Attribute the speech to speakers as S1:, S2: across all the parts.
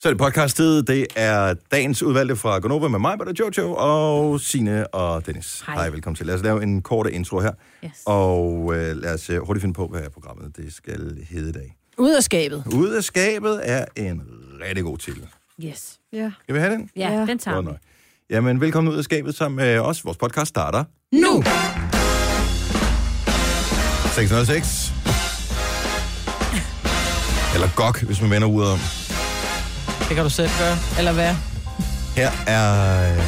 S1: Så er det podcastet. Det er dagens udvalgte fra Gonova med mig, Bada Jojo og Sine og Dennis.
S2: Hej.
S1: Hej, velkommen til. Lad os lave en kort intro her.
S2: Yes.
S1: Og øh, lad os øh, hurtigt finde på, hvad er programmet det skal hedde i dag.
S2: Ud af skabet.
S1: Ud af skabet er en rigtig god titel.
S2: Yes.
S3: Ja.
S1: Skal vi have den?
S2: Ja,
S3: Ja.
S2: ja. den tager
S1: Godt
S2: vi.
S1: nok. Jamen, velkommen ud af skabet sammen med os. Vores podcast starter
S2: Nu!
S1: 606. Eller GOG, hvis man vender uret om.
S4: Det kan du selv gøre, eller hvad?
S1: Her er øh,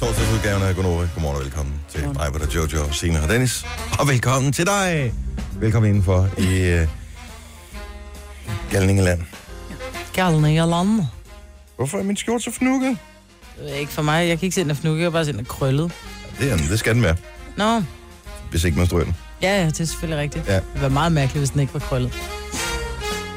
S1: torsdagsudgaven af Gonova. Godmorgen og velkommen til mig, hvor der er Jojo, Signe og Dennis. Og velkommen til dig. Velkommen indenfor i øh, Galningeland.
S4: Galne og lande.
S1: Hvorfor er min skjorte så fnukket?
S4: Det er ikke for mig. Jeg kan ikke se den af fnukke, jeg kan bare se den af krøllet.
S1: Det, er den. det skal den være,
S4: Nå,
S1: hvis ikke man stryger den.
S4: ja, ja, det er selvfølgelig rigtigt.
S1: Ja.
S4: Det ville være meget mærkeligt, hvis den ikke var krøllet.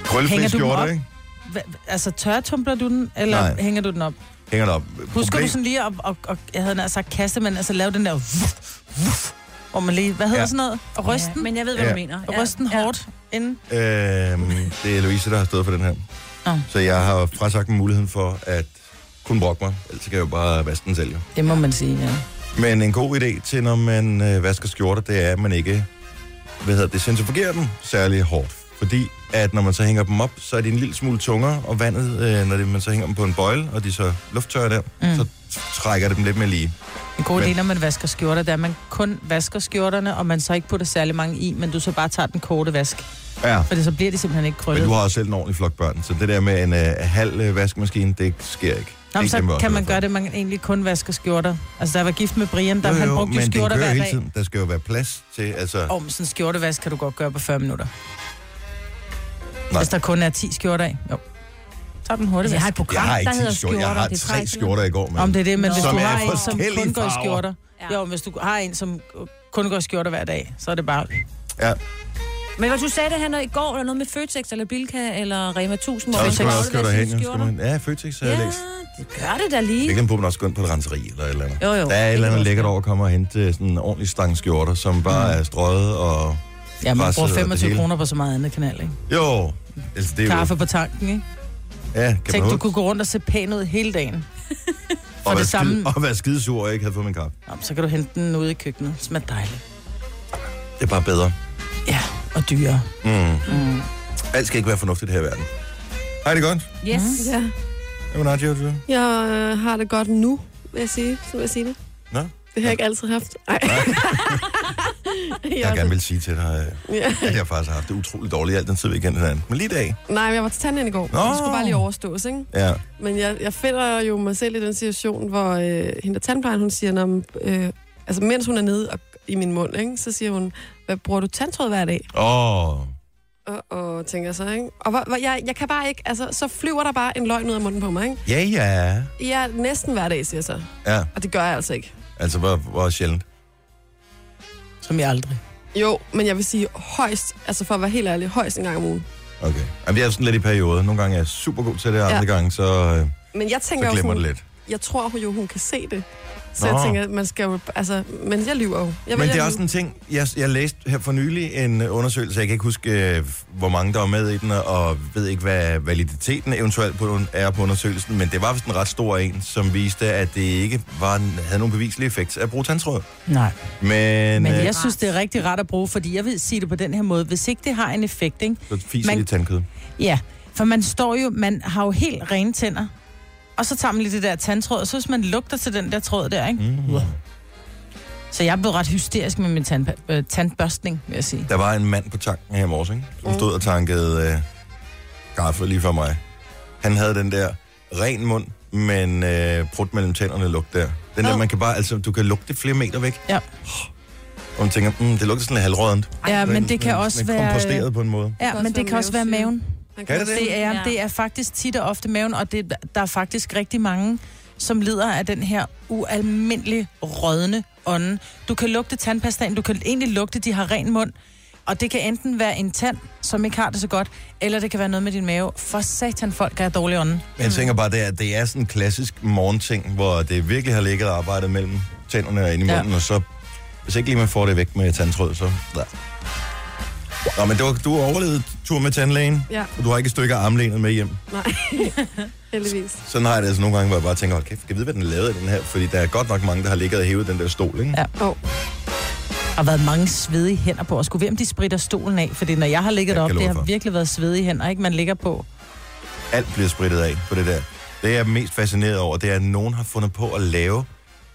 S1: Krøllefri
S4: Hænger du den
S1: skjorte,
S4: op?
S1: ikke?
S4: Hva, altså, tørretumbler du den, eller
S1: Nej.
S4: Nej. hænger du den op?
S1: Hænger den op.
S4: Husker
S1: Problem-
S4: du sådan lige, at, og, og, jeg havde nær sagt kaste, men altså lave den der vuff, vuff, hvor man lige, hvad hedder
S1: Ja.
S4: ja. sådan noget? Og ryste den?
S2: Ja, men jeg ved, hvad
S1: Ja.
S2: du mener.
S4: Ja. Ryste den hårdt inden?
S1: Øhm, det er Louise, der har stået for den her.
S4: Nå.
S1: Så jeg har frasagt mig muligheden for at kunne brokke mig. Ellers kan jeg jo bare vaske den selv. jo.
S4: Det må man sige, ja.
S1: Men en god idé til, når man øh, vasker skjorter, det er, at man ikke hvad hedder det, centrifugerer dem særlig hårdt. Fordi at når man så hænger dem op, så er de en lille smule tungere, og vandet, øh, når det, man så hænger dem på en bøjle, og de så lufttørrer der, mm. så trækker det dem lidt mere lige.
S4: En god
S1: Men-
S4: idé, når man vasker skjorter, det er, at man kun vasker skjorterne, og man så ikke putter særlig mange i, men du så bare tager den korte vask.
S1: Ja.
S4: For det, så bliver de simpelthen ikke krøllet.
S1: Men du har også selv en ordentlig flok børn, så det der med en øh, halv øh, vaskemaskine, det sker ikke.
S4: Nå, men
S1: Det er kæmpe
S4: så kan
S1: også
S4: man
S1: derfor.
S4: gøre det, man egentlig kun vasker skjorter. Altså, der var gift med Brian, der
S1: Jo,
S4: han
S1: jo,
S4: brugte
S1: men
S4: jo
S1: den
S4: skjorter
S1: kører
S4: hver
S1: hele
S4: dag.
S1: Tiden. Der skal jo være plads til, altså...
S4: Og oh, sådan en skjortevask kan du godt gøre på 40 minutter.
S1: Nej.
S4: Nej. Hvis der kun er 10 skjorter af. Jo. Så er den hurtigt
S2: Altså, jeg
S4: vask.
S2: har et
S1: jeg
S2: program,
S1: har ikke
S2: der hedder
S1: ti skjorter. Jeg har
S2: det er
S1: tre skjorter i går,
S4: Om
S1: mand.
S4: det er det, men
S2: Nå.
S4: hvis
S1: Som
S4: du
S1: er
S4: har en, som
S1: forskellige
S4: kun går i
S1: farver.
S4: skjorter.
S2: Ja.
S4: Ja. Jo, men hvis du har en, som kun går i skjorter hver dag, så er det bare...
S1: Ja,
S2: Men hvad du sagde det her når i går, eller noget med Føtex, eller Bilka, eller Rema 1000, hvor
S1: så
S2: man
S1: skal
S2: skal
S1: man
S2: aflevere
S1: også gøre
S2: sine
S1: derhen. jo. Skal
S2: skjorter.
S1: man- Ja, Føtex har jeg
S2: Ja,
S1: læst.
S2: det gør det da lige.
S1: Ikke den på, men også gå ind på et renseri eller et eller andet.
S2: Jo, jo.
S1: Der er et eller andet
S2: Det
S1: lækkert over at komme og hente øh, sådan en ordentlig stang skjorter, som bare er strøget og...
S4: Mm. Ja, man
S1: Presset og
S4: bruger
S1: det
S4: 25
S1: hele.
S4: kroner på så meget andet kanal, ikke?
S1: Jo, altså det er jo...
S4: Kaffe på tanken, ikke?
S1: Ja, kan
S4: Tænk,
S1: man
S4: du
S1: du
S4: kunne gå rundt og se pæn ud hele dagen.
S1: og, være
S4: det
S1: skide,
S4: samme.
S1: og være skidesur og ikke havde fået min kaffe.
S4: Nå, men så kan du hente den ude i køkkenet. Det smager dejligt.
S1: Det er bare bedre.
S4: Ja, og dyrere.
S1: Mm. Mm. Alt skal ikke være fornuftigt her i verden. Hej, det er godt.
S2: Yes.
S3: ja.
S1: Jamen, Nadia, du?
S3: Jeg øh, har det godt nu, vil jeg sige, som jeg siger det.
S1: Nå?
S3: Det har jeg ikke altid haft. Ej.
S1: Jeg
S3: jeg
S1: gerne vil sige til dig, øh,
S3: ja.
S1: at jeg faktisk har haft det utroligt dårligt i al den tid, vi kendte hinanden. Men lige i dag,
S3: Nej, men jeg var til tanden i går.
S1: Nå.
S3: Det skulle bare lige overstås, ikke?
S1: ja,
S3: Men jeg, jeg finder jo mig selv i den situation, hvor øh, hende der tandplejen, hun siger, når, man, øh, altså mens hun er nede og, i min mund, ikke, så siger hun, hvad bruger du tandtråd hver dag?
S1: Åh, oh,
S3: Og, og tænker så, ikke? Og hvor, hvor, jeg, jeg kan bare ikke, altså så flyver der bare en løgn ud af munden på mig, ikke?
S1: ja, ja.
S3: Ja, næsten hver dag, siger jeg så.
S1: Ja,
S3: Og det gør jeg altså ikke.
S1: altså, hvor, hvor sjældent.
S4: Som jeg aldrig.
S3: Jo, men jeg vil sige højst, altså for at være helt ærlig, højst en gang om ugen.
S1: Okay. Jamen, det er sådan lidt i perioder. Nogle gange er jeg super god til det, og andre
S3: Ja.
S1: ja. gange, så, øh,
S3: Men jeg tænker
S1: så
S3: jo,
S1: glemmer
S3: hun,
S1: det lidt.
S3: jeg tror hun jo, hun kan se det. Så
S1: Nå.
S3: jeg tænker, man skal jo, altså, men jeg lyver jo. Jeg
S1: Men
S3: vælger
S1: det er
S3: at
S1: også
S3: lyve.
S1: en ting, jeg, jeg læste her for nylig en undersøgelse, jeg kan ikke huske, øh, hvor mange der var med i den, og ved ikke, hvad validiteten eventuelt på, er på undersøgelsen, men det var vist en ret stor en, som viste, at det ikke var, havde nogen beviselig effekt at bruge tandtråd.
S4: Nej.
S1: Men, øh,
S4: Men
S1: men
S4: jeg
S1: jeg...
S4: synes, det er rigtig rart at bruge, fordi jeg vil sige det på den her måde. Hvis ikke det har en effekt, ikke?
S1: øh, så fiser
S4: man-
S1: man... det tandkød.
S4: Ja, for man står jo, man har jo helt rene tænder. Og så tager man lige det der tandtråd, og så hvis man lugter til den der tråd der, ikke?
S1: Mm.
S4: Så jeg er blevet ret hysterisk med min tand, øh, tandbørstning, vil jeg sige.
S1: Der var en mand på tanken her i morges, ikke? som
S3: Mm.
S1: stod og tankede øh, kaffe lige for mig. Han havde den der ren mund, men øh, brudt mellem tænderne lugt der. Den der,
S3: Ad.
S1: man kan bare, altså, du kan lugte flere meter væk.
S4: Ja.
S1: Og man tænker, mm, det lugter sådan lidt halvrådent.
S4: Ja,
S1: Den-
S4: men det kan
S1: den-
S4: også
S1: den
S4: være...
S1: Komposteret på en måde.
S3: Det kan
S4: Ja,
S3: også
S4: men
S3: være
S4: det kan også være
S3: mavesyre.
S4: maven.
S3: Man
S1: Kan det det?
S4: Det er,
S2: Ja.
S4: det er faktisk tit og ofte maven, og det, der er faktisk rigtig mange, som lider af den her ualmindelig rådne ånde. Du kan lugte tandpastaen, du kan egentlig lugte, de har ren mund, og det kan enten være en tand, som ikke har det så godt, eller det kan være noget med din mave. For satan, folk er dårlige ånden.
S1: Men jeg tænker bare, det er, det er sådan en klassisk morgenting, hvor det virkelig har ligget og arbejdet mellem tænderne og inde i
S4: Ja.
S1: munden, og så hvis ikke lige man får det væk med tandtråd, så... Ja. Nå, men det var, du overlevede tur med tandlægen,
S3: Ja,
S1: og du har ikke et stykke af armlænet med hjem.
S3: nej. Heldigvis.
S1: Sådan har jeg det altså nogle gange, hvor jeg bare tænker, hold kæft, skal jeg vide, hvad den er lavet af den her? Fordi der er godt nok mange, der har ligget og hævet den der stol, ikke?
S4: Ja.
S3: Åh, oh,
S4: Der har været mange svedige hænder på, og skulle ved, om de spritter stolen af, fordi når jeg har ligget
S1: Jeg
S4: op,
S1: kan love
S4: det
S1: for.
S4: har virkelig været svedige hænder, ikke? Man ligger på.
S1: Alt bliver spritet af på det der. Det, jeg er mest fascineret over, det er, at nogen har fundet på at lave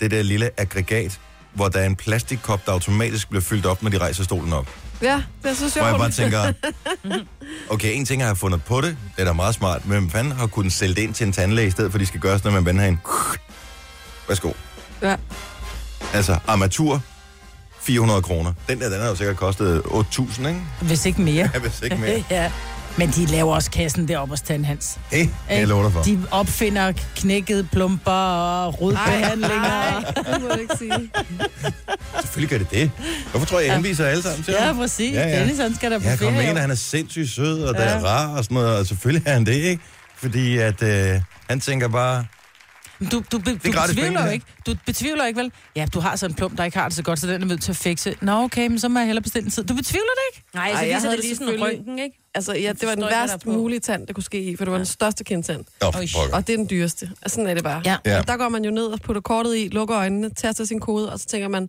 S1: det der lille aggregat, hvor der er en plastikkop, der automatisk bliver fyldt op, når de rejser stolen op.
S3: ja, det er så sjovt.
S1: Hvor jeg bare tænker, okay, en ting, jeg har fundet på det, det er da meget smart, men hvem fanden har kunnet sælge det ind til en tandlæge, i stedet for, at de skal gøre sådan, at man vender en. Værsgo.
S3: Ja.
S1: Altså, armatur, 400 kroner. Den der, den har jo sikkert kostet 8.000, ikke?
S4: Hvis ikke mere.
S1: Ja, hvis ikke mere.
S4: ja. Men de laver også kassen deroppe hos Tandhans.
S1: Hey, jeg lover dig for.
S4: De opfinder knækkede plumper og rodbehandlinger.
S3: Nej, det må du ikke sige.
S1: Selvfølgelig gør det det. Hvorfor tror jeg, jeg henviser alle sammen til
S4: Ja,
S1: ham?
S4: præcis.
S1: Ja,
S4: Ja,
S1: ja.
S4: ja. Dennis, han skal da på
S1: Ja, kom med
S4: ferie.
S1: en, og han er sindssygt sød, og ja. der er rar og sådan noget, og selvfølgelig er han det, ikke? Fordi at øh, han tænker bare,
S4: Du, du, be, du
S1: gratis penge, det
S4: betvivler
S1: her.
S4: jo ikke. Du betvivler ikke, vel? Ja, du har sådan en plump, der ikke har det så godt, så den er nødt til at fikse. Nå, okay, men så må jeg hellere bestille en tid. Du betvivler det ikke?
S2: Nej, så
S3: Ej, jeg
S2: viser
S3: havde
S2: det
S3: det
S2: lige sådan en
S3: selvfølgelig.
S2: røntgen, ikke?
S3: Altså, ja, det var den
S2: Forstår ikke, hvad der
S3: værst
S2: er på.
S3: mulige tand, det kunne ske i, for det var den største kendtand.
S1: nå, for
S4: Oj.
S1: pokker.
S3: Og det er den dyreste. Og sådan er det bare.
S4: Ja.
S1: Ja.
S3: Og der går man jo ned og putter kortet i, lukker øjnene, taster sin kode, og så tænker man,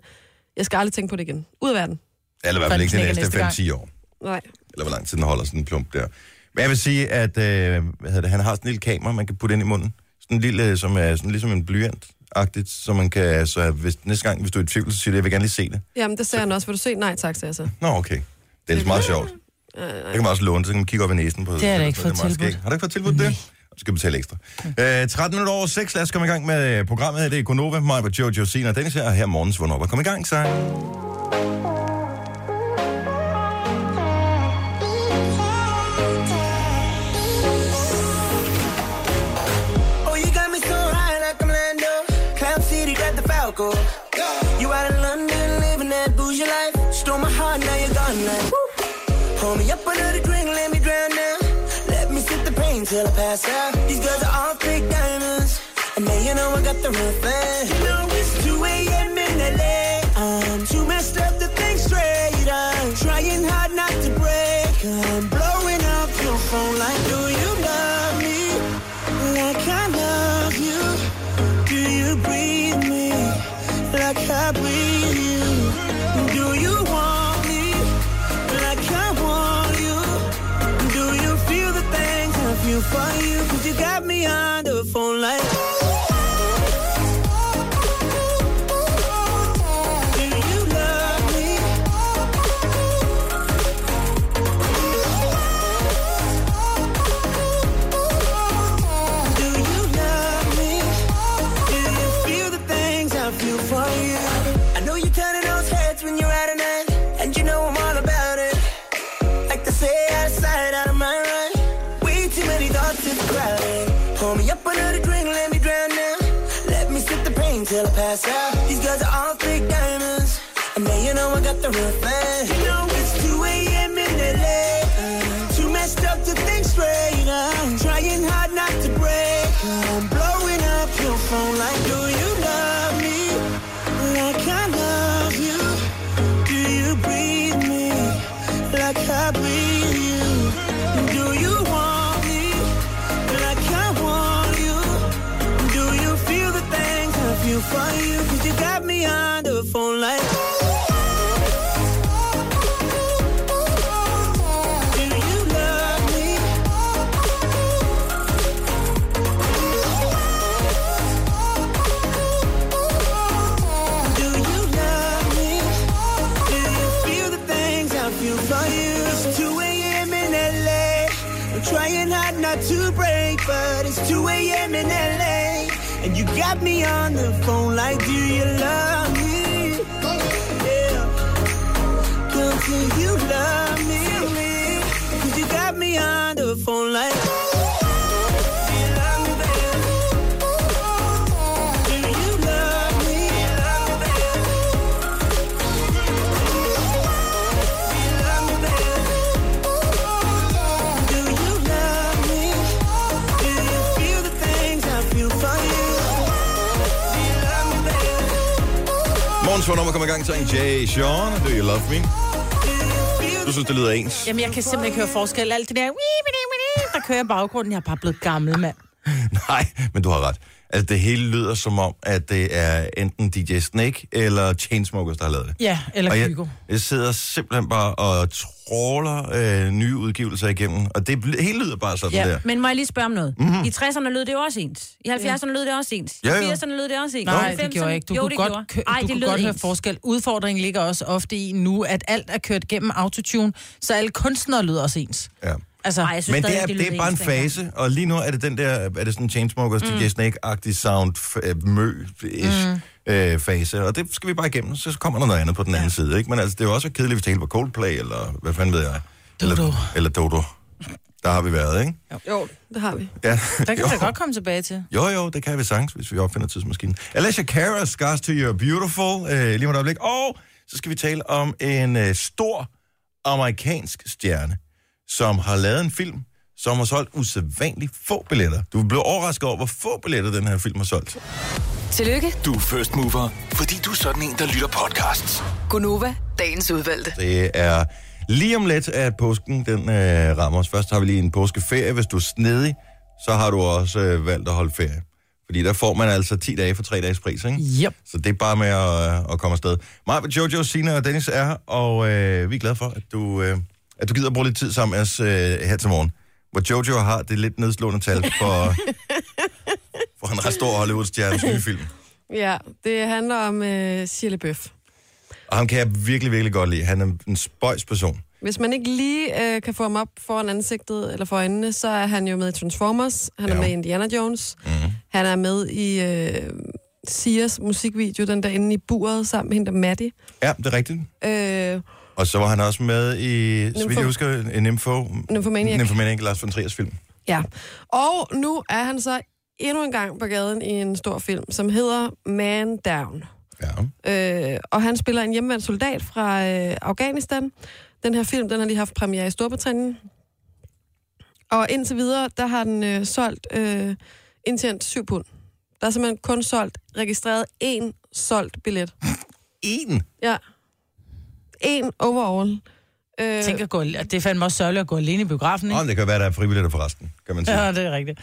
S3: jeg skal aldrig tænke på det igen. Ud af verden.
S1: Eller i hvert
S4: For
S1: fald
S4: den
S1: ikke de
S4: knækker
S1: næste
S4: næste gang.
S1: 5-10 år.
S3: Nej.
S1: Eller hvor lang tid den holder sådan en plump der. Men jeg vil sige, at øh, hvad hedder det, han har sådan en lille kamera, man kan putte ind i munden. Sådan en lille, som er sådan ligesom en blyant-agtigt, så man kan, så hvis, næste gang, hvis du er i tvivl, så siger det, jeg vil gerne lige se det.
S3: Jamen, det sagde han også. Vil du se? Nej, tak, sagde jeg så.
S1: Nå, okay. Det er altså meget sjovt. Det kan man også låne, så kan man kigge op i næsen på.
S4: Det har jeg da ikke
S1: er
S4: fået
S1: meget
S4: tilbudt.
S1: skægt. Har du ikke fået tilbudt det? Så skal du betale ekstra. Øh, 13 minutter over 6, lad os komme i gang med øh, programmet. Det er Gonova, mig og Jojo Sina og Dennis her, og her er morgens vågn op og kom i gang, så.
S5: Oh, you got me so high like I'm Lando. Cloud City got the Falco. You out in London, living that bougie life. Stole my heart, now you're gone like. Hold me up another drink, let me drown now. Let me sip the pain till I pass out. These girls are all fake diamonds. And now you know I got the real thing. You know it's 2 a.m. in LA. I'm too messed up to think straight. I'm trying hard not to break. I'm blowing up your phone like, do you love me? Like I love you. Do you breathe me? Like I breathe you. Do you want me? Like I want you. Do you feel the things I feel for you? Cause you got me on the phone like. Do you love me? Do you love me? Do you feel the things I feel for you? I know you're turning those heads when you're out at night, and you know I'm all about it. Like they say, out of sight, out of mind, right? Way too many thoughts in the crowd. Hold me up another drink, let me drown now. Let me sip the pain till I pass out. These girls are all fake diamonds. And now you know I got the real thing. You know it's 2 a.m. in LA. Too messed up to think straight. I'm trying hard not to break. I'm blowing up your phone like, do you love me? Like I love you. Do you breathe me? Like I breathe you. Do you want me? Like I want you. Do you feel the things I feel for you? Cause you got me on the phone like. Do you love me? Do you love me? Do you feel the things I feel for you? It's 2 a.m. in LA. I'm trying hard not to break, but it's 2 a.m. in LA. And you got me on the phone like, do you love me? Yeah. Girl, do you love me? Cause you got me on the phone like, do you love me, babe? Do you love me? Do you love me, babe? Do you love me? Do you feel the things I feel for you? Do you love me, babe?
S1: Morgens vågn op og kom i gang, så en Jay Sean, Do You Love Me?
S5: Do you feel
S1: Du synes, det lyder ens.
S4: Jamen, jeg kan simpelthen ikke høre forskel. Alt det der, "Wii, wii, wii, wii", der kører jeg i baggrunden. Jeg er bare blevet gammel, mand.
S1: Nej, men du har ret. Altså, det hele lyder som om, at det er enten DJ Snake eller Chainsmokers, der har lavet det.
S4: Ja, eller
S1: Og
S4: Kygo.
S1: jeg, jeg sidder simpelthen bare og tråler øh, nye udgivelser igennem, og det bl- hele lyder bare sådan ja. der. Mhm.
S2: Ja, men må jeg lige spørge om noget? Mm-hmm. I 60'erne lød det jo også ens. I 70'erne lød det også ens. I
S1: Ja, ja.
S2: 80'erne lød det også ens. I
S4: Nej, det
S2: 90'erne
S4: gjorde jeg ikke. Du
S2: jo,
S4: kunne
S2: det
S4: godt,
S2: gjorde.
S4: kø-
S2: Ej,
S4: du
S2: det
S4: kunne
S2: lød
S4: godt høre
S2: ens.
S4: forskel. Udfordringen ligger også ofte i nu, at alt er kørt gennem autotune, så alle kunstnere lyder også ens.
S1: Ja.
S4: Altså,
S2: Ej, jeg synes
S1: Men
S2: stadig,
S1: det
S2: det,
S1: er, det er
S2: lød
S1: bare en
S2: ens dengang.
S1: fase, og lige nu er det den der, er det sådan Chainsmokers, mm. DJ Snake-agtig sound, f- øh, mø-ish mm. øh, fase, og det skal vi bare igennem, så kommer der noget andet på den anden side, ikke? Men altså, det er jo også kedeligt, hvis det hele var Coldplay, eller hvad fanden ved jeg?
S4: Dodo.
S1: Eller, eller Dodo. Der har vi været, ikke?
S3: Jo, det har vi.
S1: Ja.
S4: Der kan
S1: Jo.
S4: vi da godt komme tilbage til.
S1: Jo, jo, det kan vi sagtens, hvis vi opfinder tidsmaskinen. Alicia Cara, Scars to Your Beautiful, øh, lige om et øjeblik. Og så skal vi tale om en øh, stor amerikansk stjerne, som har lavet en film, som har solgt usædvanligt få billetter. Du blev overrasket over, hvor få billetter den her film har solgt.
S6: Tillykke,
S7: Du er first mover, fordi du er sådan en, der lytter podcasts.
S6: Gunova, dagens udvalgte.
S1: Det er lige om lidt, at påsken den, øh, rammer os. Først har vi lige en påskeferie. Hvis du er snedig, så har du også øh, valgt at holde ferie. Fordi der får man altså 10 dage for 3 dages pris, ikke?
S4: Yep.
S1: Så det er bare med at, øh, at komme afsted. Maja, Jojo, Sina og Dennis er her, og øh, vi er glade for, at du, øh, at du gider at bruge lidt tid sammen med os øh, her til morgen. Hvor Jojo har det lidt nedslående tal for, for en ret stor Hollywood-stjernes nye film.
S3: Ja, det handler om øh, Shirley Bøf.
S1: Og ham kan jeg virkelig, virkelig godt lide. Han er en spøjs person.
S3: Hvis man ikke lige øh, kan få ham op foran ansigtet eller for øjnene, så er han jo med i Transformers, han ja.
S1: Ja.
S3: er med i Indiana Jones,
S1: Mm-hmm.
S3: han er med i øh, Sias musikvideo, den der inde i buret sammen med hende der Maddie.
S1: Ja, det er rigtigt.
S3: Øh,
S1: Og så var han også med i, så
S3: Nympho-
S1: vidt jeg husker, en info.
S3: Nymphomaniac.
S1: Nymphomaniac, Lars von Triers film.
S3: ja. Og nu er han så endnu en gang på gaden i en stor film, som hedder Man Down.
S1: Ja.
S3: Øh, og han spiller en hjemvendt soldat fra øh, Afghanistan. Den her film, den har lige haft premiere i Storbritannien. Og indtil videre, der har den øh, solgt øh, indtjent 7 pund. Der er simpelthen kun solgt, registreret én solgt billet.
S1: En.
S3: Ja. En overall. Øh,
S4: Tænk at gå, at det er fandme også sørgeligt at gå alene i biografen,
S1: Åh,
S4: ikke?
S1: men det kan være, der er fribilletter for resten, kan man sige.
S4: Ja, det er rigtigt.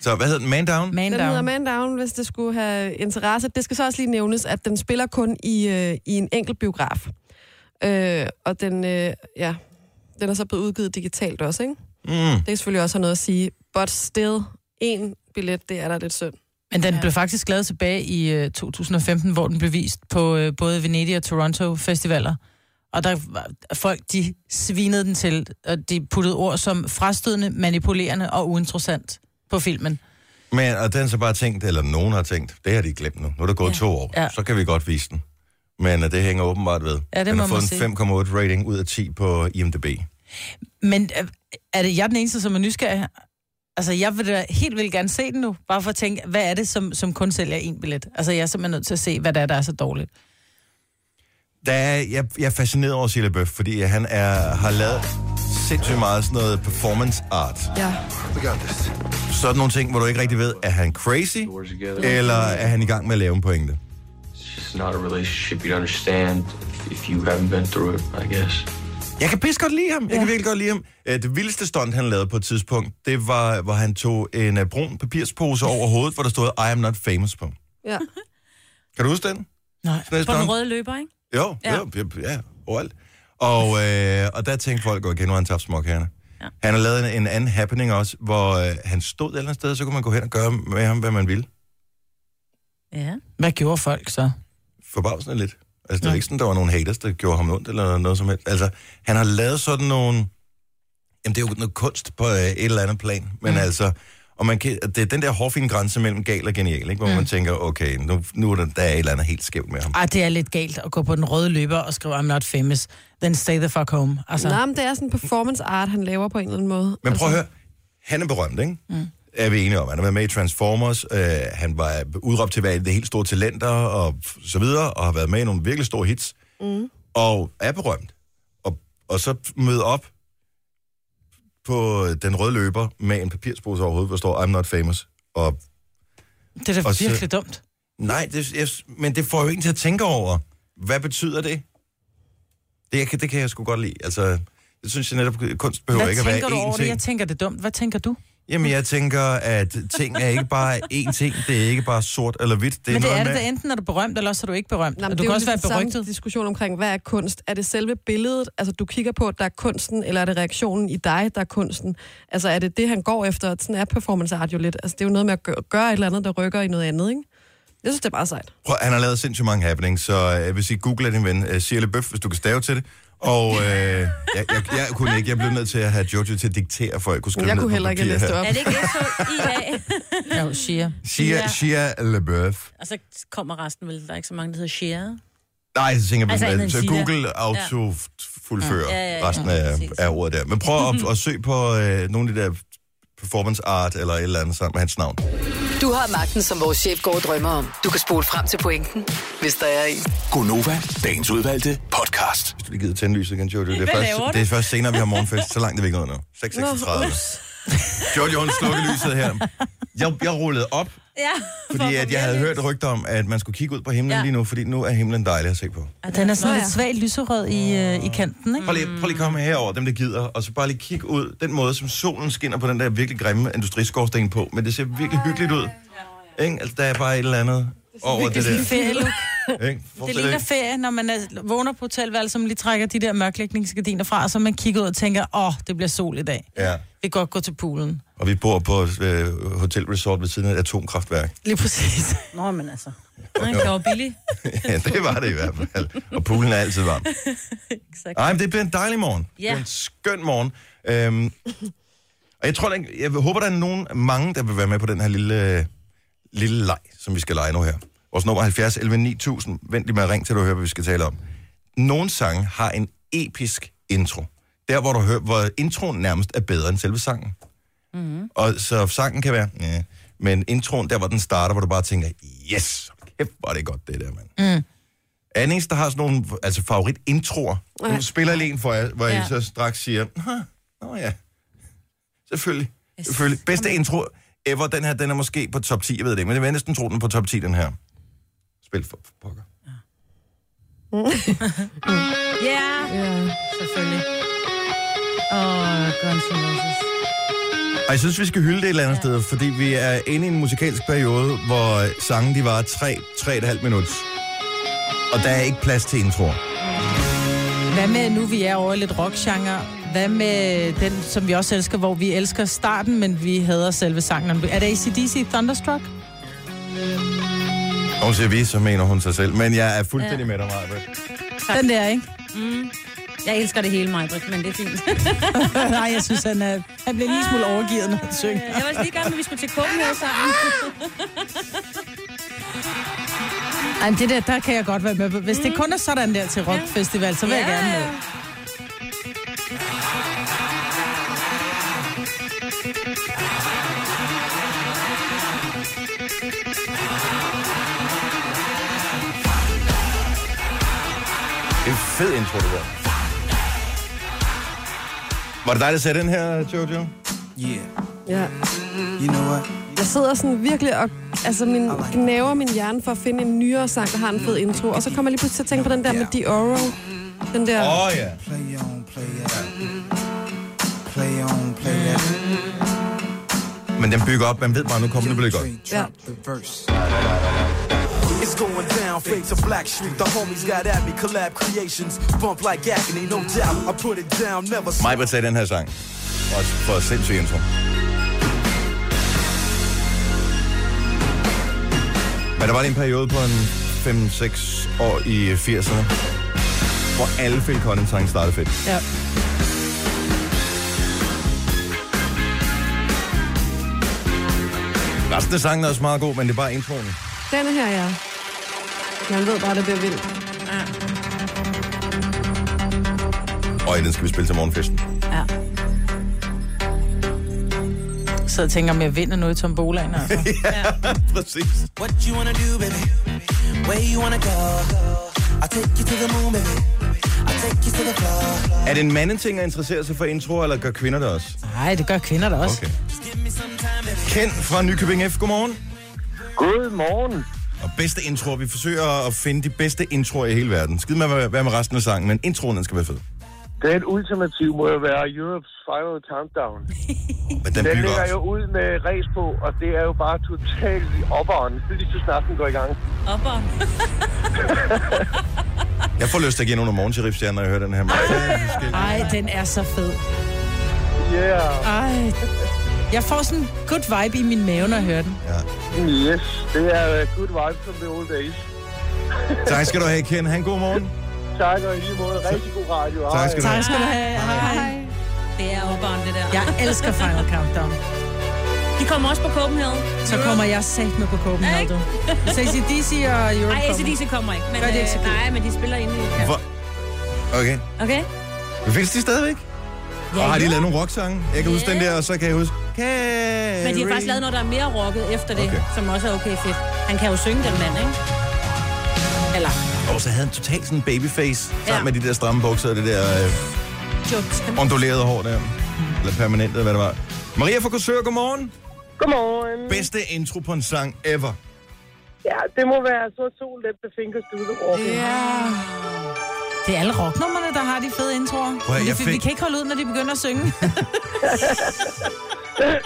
S1: Så hvad hedder den? Man Down?
S4: Man
S3: den hedder
S4: down.
S3: Man Down, hvis det skulle have interesse. Det skal så også lige nævnes, at den spiller kun i, øh, i en enkelt biograf. Øh, og den, øh, ja, den er så blevet udgivet digitalt også, ikke?
S1: Mm.
S3: Det kan selvfølgelig også have noget at sige. But still, en billet, det er da lidt synd.
S4: Men den blev faktisk lavet tilbage i øh, 2015, hvor den blev vist på øh, både Venedig og Toronto festivaler. Og der var, folk, de svinede den til, og de puttede ord som frastødende, manipulerende og uinteressant på filmen.
S1: Men, og den så bare tænkt, eller nogen har tænkt, det har de glemt nu. Nu er der gået ja. to år, ja.
S4: Ja.
S1: så kan vi godt vise den. Men øh, det hænger åbenbart ved.
S4: Ja, det
S1: den
S4: må
S1: har
S4: man
S1: fået
S4: sige.
S1: en 5,8 rating ud af 10 på IMDb.
S4: Men øh, er det jeg den eneste, som er nysgerrig? Altså, jeg vil da helt vildt gerne se den nu, bare for at tænke, hvad er det, som, som kun sælger en billet? Altså, jeg er simpelthen nødt til at se, hvad der er, der er så dårligt.
S1: Der er, jeg, jeg er fascineret over Silla Bøf, fordi han er, har lavet sindssygt meget sådan noget performance art.
S3: Ja.
S1: Sådan nogle ting, hvor du ikke rigtig ved, er han crazy, eller er han i gang med at lave en pointe?
S8: It's not a relationship you'd understand if, if you haven't been through it, I guess.
S1: Jeg kan pisse godt lide ham. Jeg kan virkelig godt lide ham. Øh, Det vildeste stunt, han lavede på et tidspunkt, det var, hvor han tog en øh, brun papirspose over hovedet, hvor der stod, I am not famous på.
S3: ja.
S1: Kan du huske den?
S4: Nej.
S1: Sådan et
S2: På den
S1: stunt.
S2: røde løber, ikke?
S1: Jo, ja.
S2: Ja.
S1: jo, ja, ja, overalt. Og, øh, og der tænkte folk, okay, nu har han tabt småkagerne. Ja. Han har lavet en, en anden happening også, hvor øh, han stod et eller andet sted, så kunne man gå hen og gøre med ham, hvad man ville.
S2: Ja.
S4: Hvad gjorde folk så?
S1: Forbavsende lidt. Altså, det var
S4: Nå.
S1: ikke sådan, der var nogen haters, der gjorde ham ondt eller noget som helst. Altså, han har lavet sådan nogle... Jamen, det er jo noget kunst på øh, et eller andet plan, men mm. altså... Og man kan, det er den der hårfine grænse mellem gal og genial, ikke? hvor mm. man tænker, okay, nu, nu er der, der er et eller andet helt skævt med ham.
S4: Ah, det er lidt galt at gå på den røde løber og skrive, I'm not famous, then stay the fuck home. Altså,
S3: Nej, men det er sådan en performance art, han laver på en eller anden måde. Altså-
S1: Men prøv at høre, han er berømt, ikke? Mm. Er vi enige om. Han har været med i Transformers, øh, han var udråbt til at være det helt store talenter og f- så videre, og har været med i nogle virkelig store hits, mm. og er berømt. Og, og så møde op på den røde løber med en papirspose over hovedet, hvor står I'm not famous. Og
S4: det er da
S1: og så-
S4: virkelig dumt.
S1: nej, det, jeg, men det får jo ikke til at tænke over, hvad betyder det? Det, jeg, kan- det kan jeg sgu godt lide. Altså, jeg synes, at netop kunst behøver
S4: Hvad
S1: ikke at være
S4: tænker du
S1: én
S4: over det?
S1: ting.
S4: Jeg tænker det er dumt. Hvad tænker du?
S1: Jamen, jeg tænker, at ting er ikke bare én ting. Det er ikke bare sort eller hvidt. Det er
S4: Men det
S1: noget
S4: er det,
S1: med...
S4: da. enten er du berømt, eller også er du ikke berømt.
S3: Nej,
S4: og
S3: men
S4: Altså, du
S3: det
S4: kan
S3: er jo
S4: også være
S3: lidt samme
S4: berygtet.
S3: diskussion omkring, hvad er kunst? Er det selve billedet, altså du kigger på, der er kunsten, eller er det reaktionen i dig, der er kunsten? Altså er det det, han går efter? Sådan er performance art jo lidt. Altså det er jo noget med at gøre, gøre et eller andet, der rykker i noget andet, ikke? Jeg synes, det er bare sejt.
S1: Prøv, han har lavet sindssygt mange happenings, så øh, jeg vil sige, google din ven, øh, Shirley Bøf, hvis du kan stave til det. Og øh, jeg, jeg, jeg, kunne ikke, jeg blev nødt til at have Jojo til at diktere, for jeg kunne skrive
S3: Jeg
S1: ned
S3: kunne
S1: på
S3: heller ikke
S1: papir
S3: læse det
S1: her.
S3: op.
S2: Er det ikke S-H-I-A?
S4: Ja, jo, Shia.
S1: Shia, Shia LaBeouf.
S2: Og så kommer resten vel. Der er ikke så mange, der hedder Shia.
S1: Nej, så tænker
S2: Altså,
S1: jeg,
S2: andet
S1: altså,
S2: end
S1: så
S2: Shia.
S1: Google auto fuldfører
S2: Ja, ja, ja,
S1: resten
S2: ja,
S1: af,
S2: præcis.
S1: af ordet der. Men prøv at, at søg på øh, nogle af de der performance art eller et eller andet sammen med hans navn.
S6: Du har magten, som vores chef går og drømmer om. Du kan spole frem til pointen, hvis der er en.
S7: Gonova, dagens udvalgte podcast.
S1: Hvis du lige gider tænde lyset igen, Jojo. Det er,
S2: Hvad laver
S1: først,
S2: du?
S1: det er først senere, vi har morgenfest. Så langt er vi ikke nået nu. 6.36. Jojo, hun slukker lyset her. Jeg, jeg rullede op,
S2: Ja.
S1: fordi at jeg havde hørt rygter om, at man skulle kigge ud på himlen ja.
S2: Ja.
S1: lige nu, fordi nu er himlen dejlig at se på.
S4: Og den er sådan
S3: Nå, ja.
S4: lidt svagt lyserød i, øh, i kanten, ikke?
S1: Prøv lige, prøv lige at komme herover, dem der gider, og så bare lige kigge ud den måde, som solen skinner på den der virkelig grimme industriskorsten på. Men det ser virkelig hyggeligt ud. Ikke? Altså, der er bare et eller andet over det der.
S4: Ferie,
S1: Ikke?
S4: det
S1: Fortsæt
S4: ligner
S1: ikke.
S4: ferie, når man er, vågner på hotelværelset, som lige trækker de der mørklægningsgardiner fra, og så man kigger ud og tænker, åh, oh, det bliver sol i dag.
S1: Ja,
S4: Vi kan godt gå til poolen.
S1: og vi bor på et øh, hotelresort ved siden af et atomkraftværk.
S4: Lige præcis.
S2: Nå, men altså. Han kan jo billig.
S1: ja, det var det i hvert fald. Og poolen er altid varm. Nej, men det bliver en dejlig morgen. Det bliver
S2: Ja.
S1: en skøn morgen. Øhm, og jeg tror, der, jeg håber, der er nogen, mange, der vil være med på den her lille, lille leg, som vi skal lege nu her. Vores nummer er 70 11 9000. Vent lige med at ringe til, du hører, hvad vi skal tale om. Nogle sange har en episk intro. Der, hvor du hører, hvor introen nærmest er bedre end selve sangen. Og så sangen kan være, ja. men introen, der hvor den starter, hvor du bare tænker, yes, kæft, hvor er det godt det der, mand. Mm. Er den eneste, der har sådan nogle altså, favorit-introer?
S3: Ja.
S1: Nu spiller jeg lige en for jer, hvor ja. jeg
S2: Ja.
S1: så straks siger, "Huh, nå ja, selvfølgelig. selvfølgelig. Bedste intro ever, den her, den er måske på top 10, jeg ved det ikke, men det vil jeg næsten tro, den er på top 10, den her. Spil for, for pokker.
S2: Ja, selvfølgelig. Åh, Guns N' Roses.
S1: Og jeg synes, vi skal hylde det et eller andet ja. sted, fordi vi er inde i en musikalsk periode, hvor sangen de var 3-3,5 minutter. Og der er ikke plads til introer.
S4: Hvad med, nu vi er over i lidt rockgenre, hvad med den, som vi også elsker, hvor vi elsker starten, men vi hader selve sangen? Er det ACDC Thunderstruck?
S1: Og Hun siger vi, så mener hun sig selv. Men jeg er fuldstændig ja. med dig, Maja.
S4: Den der, ikke?
S2: Mm. Jeg elsker det hele, Majbrit, men det er fint.
S4: Nej, jeg synes, han, er, han bliver en lille smule overgivet, når han synger.
S2: jeg var også lige i gang med, at vi skulle til Copenhagen sammen.
S4: Ej, men det der, der kan jeg godt være med på. Hvis mm. det kun er sådan der til rockfestival, så vil jeg
S2: Ja.
S4: gerne med.
S1: Det er en fed intro, det der. Var det dig, der sagde den her, Jojo?
S3: Ja.
S9: You know what?
S3: Jeg sidder sådan virkelig og altså, min, gnaver min hjerne for at finde en nyere sang, der har en fed intro. Og så kommer jeg lige pludselig til at tænke på den der med Dioro. Den der...
S1: Åh oh, ja.
S9: Play on, play out. Play on, play out.
S1: Men den bygger op. Man ved bare, nu kommer det bliver godt.
S3: Ja.
S9: The verse.
S10: It's going down, fade to Black Street. The homies got at me, collab creations. Bump like agony, no doubt. I put it down, never
S1: Mig vil tage den her sang. Også for sindssyg intro. Men der var lige en periode på en 5-6 år i 80'erne, hvor alle Phil Collins-sange startede fedt.
S4: Ja.
S1: Resten af sangen er også meget god, men det er bare introen.
S3: Denne her, ja. Man ved bare, det bliver vildt.
S1: Og den skal vi spille til morgenfesten.
S4: Ja. Så jeg tænker, om jeg vinder noget i tombolaen, altså.
S1: Præcis.
S10: What you wanna do, baby? Where you wanna go? I'll take you to the moon, baby. I'll take you to the floor.
S1: Er det en mandeting at interessere sig for introer, eller gør kvinder det også?
S4: Nej, det gør kvinder da også.
S1: Okay. Kent fra Nykøbing F. Godmorgen.
S11: God morgen.
S1: Og bedste intro, vi forsøger at finde de bedste introer i hele verden. Skid med, hvad hvad med resten af sangen, men introen den skal være fed.
S12: Den ultimative må jo være Europe's Final Countdown.
S1: den,
S12: den
S1: bygger
S12: ligger
S1: også.
S12: jo ud med race på, og det er jo bare totalt i opperen, lige så snart den går i gang.
S13: Opper.
S1: Jeg får lyst til at give nogle morgensheriffstjerner, når jeg hører den her.
S4: Ej, den er så fed.
S12: Yeah.
S4: Ej. Jeg får sådan en good vibe i min mave, når jeg hører den.
S12: Yes, det er øh, good vibes from the old days.
S1: Tak skal du have, Ken. Han god morgen.
S12: Tak og i lige måde. Rigtig god radio.
S1: Tak skal du have. Tak
S4: skal du have. Hej. Hej.
S13: Det er opbaren, det der.
S4: Jeg elsker Final Countdown.
S13: De kommer også på Copenhagen.
S4: Så kommer jeg sat med på Copenhagen. du. Så ACDC og Europe
S13: Nej, ACDC kommer ikke. Men,
S4: Gør de ikke så
S13: øh, nej, men de spiller inde i... Ja.
S1: Hvor- Okay.
S13: Okay?
S1: Men Findes de stadigvæk? Ja, og har de
S13: jo.
S1: lavet nogle rocksange? Jeg kan huske den der, og så kan jeg huske... Carrie.
S13: Men de har faktisk lavet noget, der er mere rocket efter det,
S1: Okay.
S13: okay. som også er okay fedt. Han kan jo synge den mand, ikke? Eller
S1: Og så havde han totalt sådan en babyface, sammen
S13: Ja.
S1: med de der stramme bukser og det der øh,
S13: jokes.
S1: ondulerede hår der. Eller permanent, eller hvad det var. Maria fra Korsør, godmorgen.
S10: Godmorgen.
S1: Bedste intro på en sang ever.
S10: Ja, det må være så to lette fingers to the walk.
S4: Ja. Det er alle rocknummerne, der har de fede introer.
S1: Prøv at,
S4: vi,
S1: jeg
S4: vi
S1: fik-
S4: kan ikke holde ud, når de begynder at synge.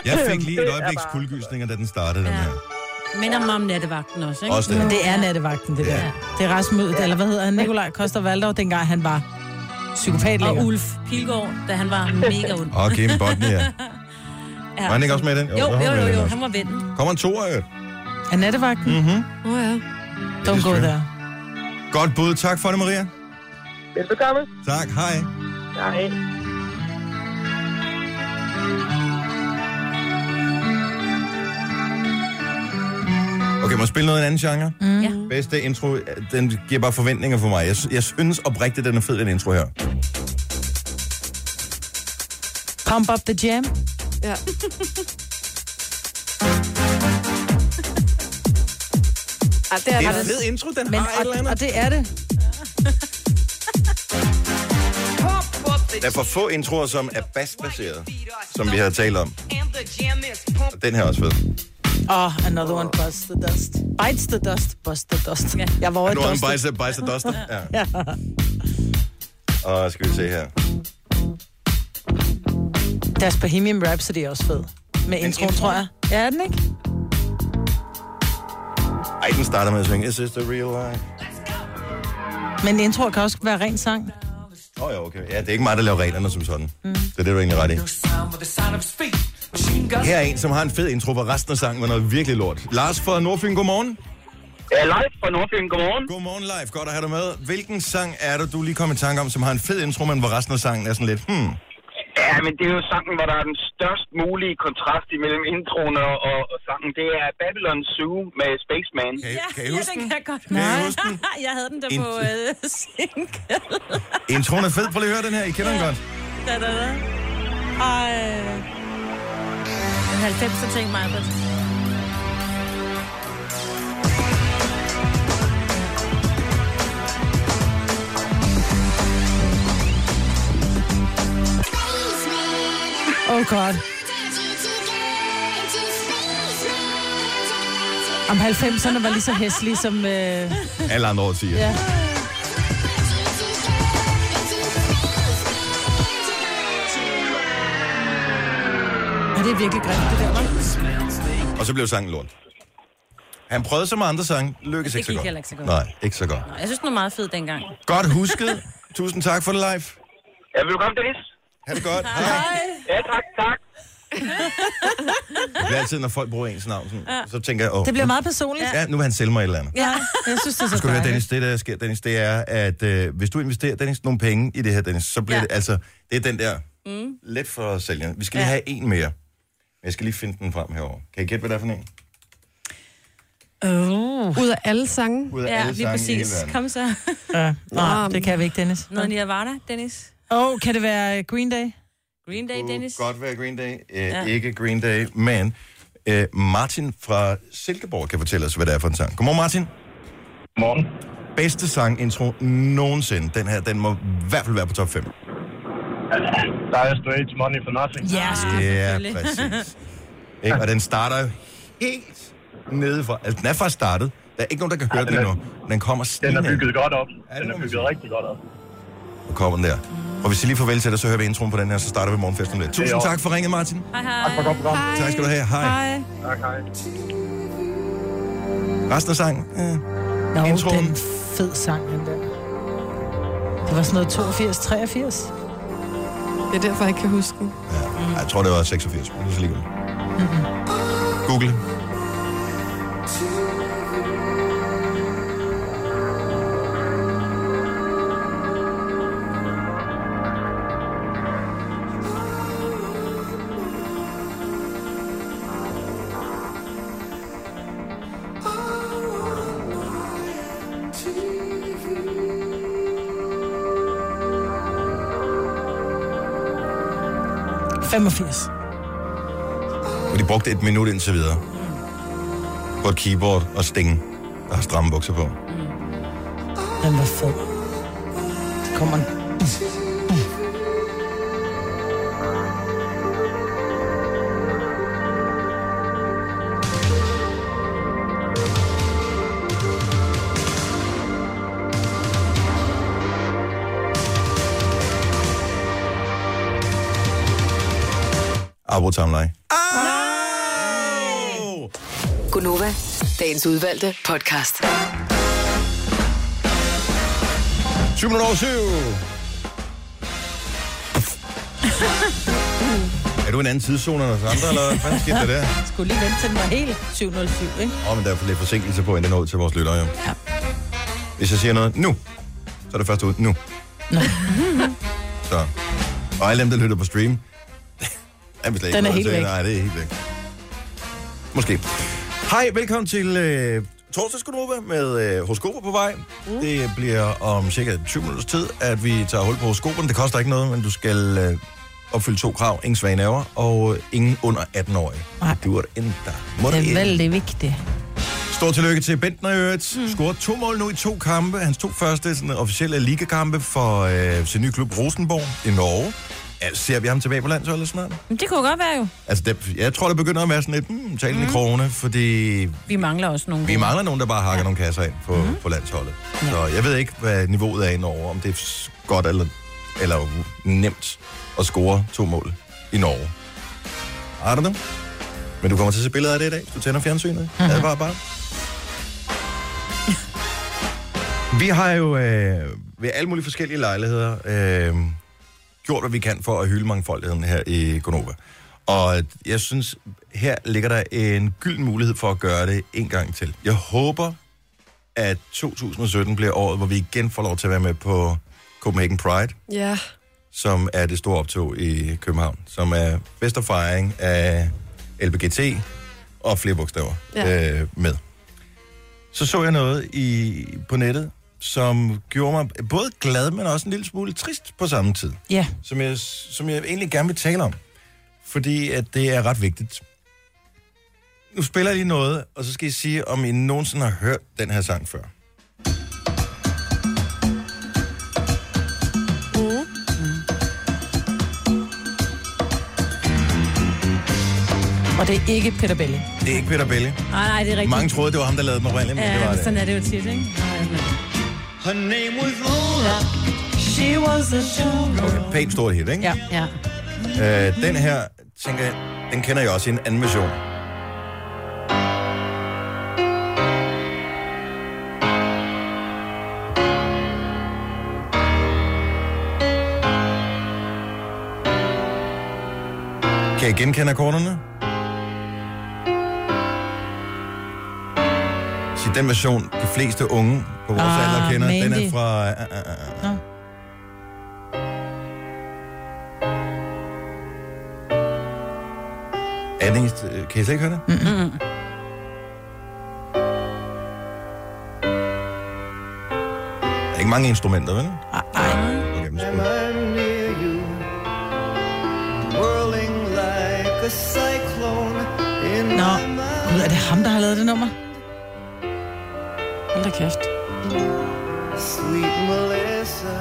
S1: Jeg fik lige et øjebliks kuldgysninger, da den startede, den her.
S13: Minder mig om nattevagten også, ikke?
S1: Også det. Men det
S4: er nattevagten, det
S1: Ja.
S4: der. Det er Rasmus, eller hvad hedder han? Nikolaj Koster Valdor, dengang han var psykopat
S13: Og
S4: længere.
S13: Ulf Pilgaard, da han var mega ond.
S1: Og Kim Bodnia. Var han ikke også med i den?
S13: Jo,
S1: Jo, der var
S13: jo,
S1: han med i
S13: jo,
S1: den
S13: jo,
S1: også.
S13: han var vennen.
S1: Kommer en toer, øh.
S4: Er nattevagten?
S1: Mhm.
S3: Åh oh, ja.
S1: Don't
S4: go there.
S1: Godt bud. Tak for det, Maria.
S10: Velbekomme.
S1: Tak. Hej.
S10: Nej.
S1: Okay, må jeg spille noget i en anden genre?
S13: Mm. Ja.
S1: Bedste intro, den giver bare forventninger for mig. Jeg, jeg synes oprigtigt, den er fed, den intro her.
S4: Pump up the jam.
S3: Ja.
S4: Ah,
S3: det er Det er en
S1: fed intro, den
S4: Men, har og, eller andet. Og det er det.
S1: Der er for få introer, som er bassbaseret, som vi har talt om. Og den her er også fed.
S4: Oh, another one busts the dust. Bites the dust, busts the dust. Yeah. Jeg var over
S1: Nu har han
S4: dustet.
S1: bejset, bejset duster. Ja.
S4: Ja.
S1: Og skal vi se her.
S4: Deres Bohemian Rhapsody er også fed. Med intro, tror jeg. Ja, er den ikke?
S1: Ej, den starter med at synge, Is this the real life?
S4: Men intro kan også være ren sang.
S1: Åh oh, ja, okay. Ja, det er ikke mig, der laver reglerne som sådan. Mm. Så det er du egentlig ret i. Her er en, som har en fed intro, hvor resten af sangen var noget virkelig lort. Lars fra Nordfyn, godmorgen.
S14: Ja, live fra Nordfyn, godmorgen.
S1: Godmorgen live, godt at have dig med. Hvilken sang er det, du lige kom i tanke om, som har en fed intro, men hvor resten af sangen er sådan lidt, hmm.
S14: Ja, men det er jo sangen, hvor der er den størst mulige kontrast imellem introen og, og, og sangen. Det er Babylon Zoo med Spaceman.
S1: Kan, ja, kan I
S13: Ja,
S1: huske
S13: den
S1: den?
S13: kan jeg godt.
S1: Kan I huske den?
S13: jeg havde den der
S1: En-
S13: på øh, single.
S1: Introen er fed, prøv lige at høre den her, I kender den godt.
S13: Da, da, da. Ej. Den 90'er ting, mig.
S4: Oh god. Om 90'erne var lige så hæslige som... Øh...
S1: Alle andre årtier.
S4: Ja. Og det er virkelig grimt, det der, var.
S1: Og så blev sangen lort. Han prøvede så med andre sange, lykkes
S13: Det
S1: ikke så
S13: gik
S1: godt.
S13: heller ikke så godt.
S1: Nej, ikke så godt.
S13: Nå, Jeg synes, den var meget fed dengang.
S1: Godt husket. Tusind tak for det, live.
S14: Ja, velkommen, Dennis.
S1: Ha' det godt.
S13: Hej.
S14: Ja, tak, tak.
S1: Det er altid, når folk bruger ens navn, sådan, så tænker jeg... Åh,
S4: Det bliver
S1: nu-
S4: meget personligt.
S1: Ja, nu vil han sælge mig et eller andet.
S4: Ja, jeg synes, det er så
S1: Skal du høre,
S4: dejligt.
S1: Dennis, det der sker, Dennis, det er, at øh, hvis du investerer, Dennis, nogle penge i det her, Dennis, så bliver
S4: Ja.
S1: ja. det, altså, det er den der,
S4: Mm.
S1: let for sælgeren. Vi skal lige
S4: Ja.
S1: have en mere. Jeg skal lige finde den frem herover. Kan I gætte, hvad det er for en?
S4: Uh.
S3: Oh. Ud af alle sange.
S1: Ud af Ja, alle lige sange i præcis. hele verden.
S13: Kom så.
S4: Ja. Nej, det kan vi ikke, Dennis.
S13: Noget Nirvana, Dennis.
S4: Åh, oh, kan det være øh, Green Day?
S13: Green Day, Dennis.
S1: Godt være Green Day. Øh,
S13: Ja.
S1: ja. Ikke Green Day, men øh, Martin fra Silkeborg kan fortælle os, hvad det er for en sang. Godmorgen, Martin. Godmorgen. Bedste sangintro nogensinde. Den her, den må i hvert fald være på top 5.
S15: Dire Straits, Money for Nothing.
S13: Ja,
S1: Ja, præcis. Ikke? Og den starter jo helt nede fra... Altså, den er faktisk startet, Der er ikke nogen, der kan høre den endnu. Den kommer
S16: Den
S1: snigende.
S16: er bygget godt op. Den er bygget rigtig godt op.
S1: Nu kommer den der. Og hvis I lige farvel til dig, så hører vi introen på den her, så starter vi morgenfesten om lidt. Tusind tak for ringet, Martin.
S2: Hej, hej. Tak for
S16: godt program.
S1: Tak skal du have. Hej.
S2: Hej.
S16: Tak, hej.
S1: Resten af sangen. Ja.
S4: Nå, Introen. den fed sang, den der. Det var sådan noget 82, 83.
S3: Det er derfor, jeg ikke kan huske den.
S1: Ej, Jeg tror, det var 86, men det er så ligegyldigt.
S4: Mm-hmm.
S1: Google.
S4: det. 85.
S1: Og de brugte et minut indtil videre. På et keyboard og sting. Der har stramme bukser på.
S4: Den var fed. Så kommer den.
S1: Abo Tamlai.
S6: Gunova, dagens udvalgte podcast.
S1: 20 minutter over 7. Er du i en anden tidszone end os andre, eller hvad fanden skete der der?
S4: Skulle lige vente til den var helt 707, ikke?
S1: Åh, oh, men der er for lidt forsinkelse på, inden den når ud til vores lyttere, jo. Ja. Hvis jeg siger noget nu, så er det først ud nu. Så. Og alle dem, der lytter på stream, er vi slet ikke
S4: Den er
S1: nået
S4: helt
S1: til.
S4: væk.
S1: Nej, det er helt væk. Måske. Hej, velkommen til øh, torsdagsgruppe med øh, horoskoper på vej. Mm. Det bliver om cirka 20 minutters tid, at vi tager hul på horoskoperne. Det koster ikke noget, men du skal øh, opfylde to krav. Ingen svage nerver, og øh, ingen under 18 år. Nej. Du er endda. Må
S4: Det
S1: ikke.
S4: er veldig vigtigt.
S1: Stor tillykke til Bentner i øvrigt. Mm. Scoret to mål nu i to kampe. Hans to første sådan, officielle ligakampe for øh, sin nye klub Rosenborg i Norge. Ja, ser vi ham tilbage på landsholdet snart?
S2: Men det kunne godt være jo.
S1: Altså, det, jeg tror, det begynder at være sådan lidt mm, talen mm. i krogene, fordi
S2: Vi mangler også nogle
S1: vi
S2: gode.
S1: mangler nogen, der bare hakker ja. nogle kasser ind på, mm. på landsholdet. Ja. Så jeg ved ikke, hvad niveauet er i Norge, om det er s- godt eller, eller nemt at score to mål i Norge. Er det Men du kommer til at se billeder af det i dag, hvis du tænder fjernsynet. Mm-hmm. Er det bare bare? Vi har jo øh, ved alle mulige forskellige lejligheder øh, gjort, hvad vi kan for at hylde mangfoldigheden her i Gonova. Og jeg synes, her ligger der en gylden mulighed for at gøre det en gang til. Jeg håber, at 2017 bliver året, hvor vi igen får lov til at være med på Copenhagen Pride,
S3: Ja.
S1: som er det store optog i København, som er fest og fejring af LBGT og flere bogstaver
S3: Ja.
S1: ja. øh, med. Så så jeg noget i, på nettet, som gjorde mig både glad, men også en lille smule trist på samme tid
S4: Ja.
S1: som jeg, som jeg egentlig gerne vil tale om. Fordi at det er ret vigtigt. Nu spiller jeg lige noget, og så skal I sige, om I nogensinde har hørt den her sang før.
S4: Og det er ikke Peter Belli.
S1: Det er ikke Peter Belli.
S2: Nej, nej, det er rigtigt.
S1: Mange troede, det var ham, der lavede den oprindeligt, men ja, det var
S2: Ja,
S1: det.
S2: sådan er det jo tit, ikke? Nej, men...
S1: Her name was
S2: Lola. She was a showgirl.
S1: Okay, pænt stort hit, ikke?
S4: Ja.
S2: Ja.
S1: Øh, den her, tænker jeg, den kender jeg også i en anden version. Kan I genkende akkorderne? Så den version, de fleste unge på vores
S4: Ah,
S1: alder kender, den er
S4: Mandy.
S1: fra... Uh, uh, uh,
S4: Nå.
S1: Er det eneste, kan I slet ikke høre det?
S2: Mm-mm.
S1: Der er ikke mange instrumenter, vel?
S5: Am I near you? Whirling like a cyclone in
S4: Nå,
S5: my
S4: Gud, er det ham, der har lavet det nummer? Hold da kæft.
S5: Sweet Melissa,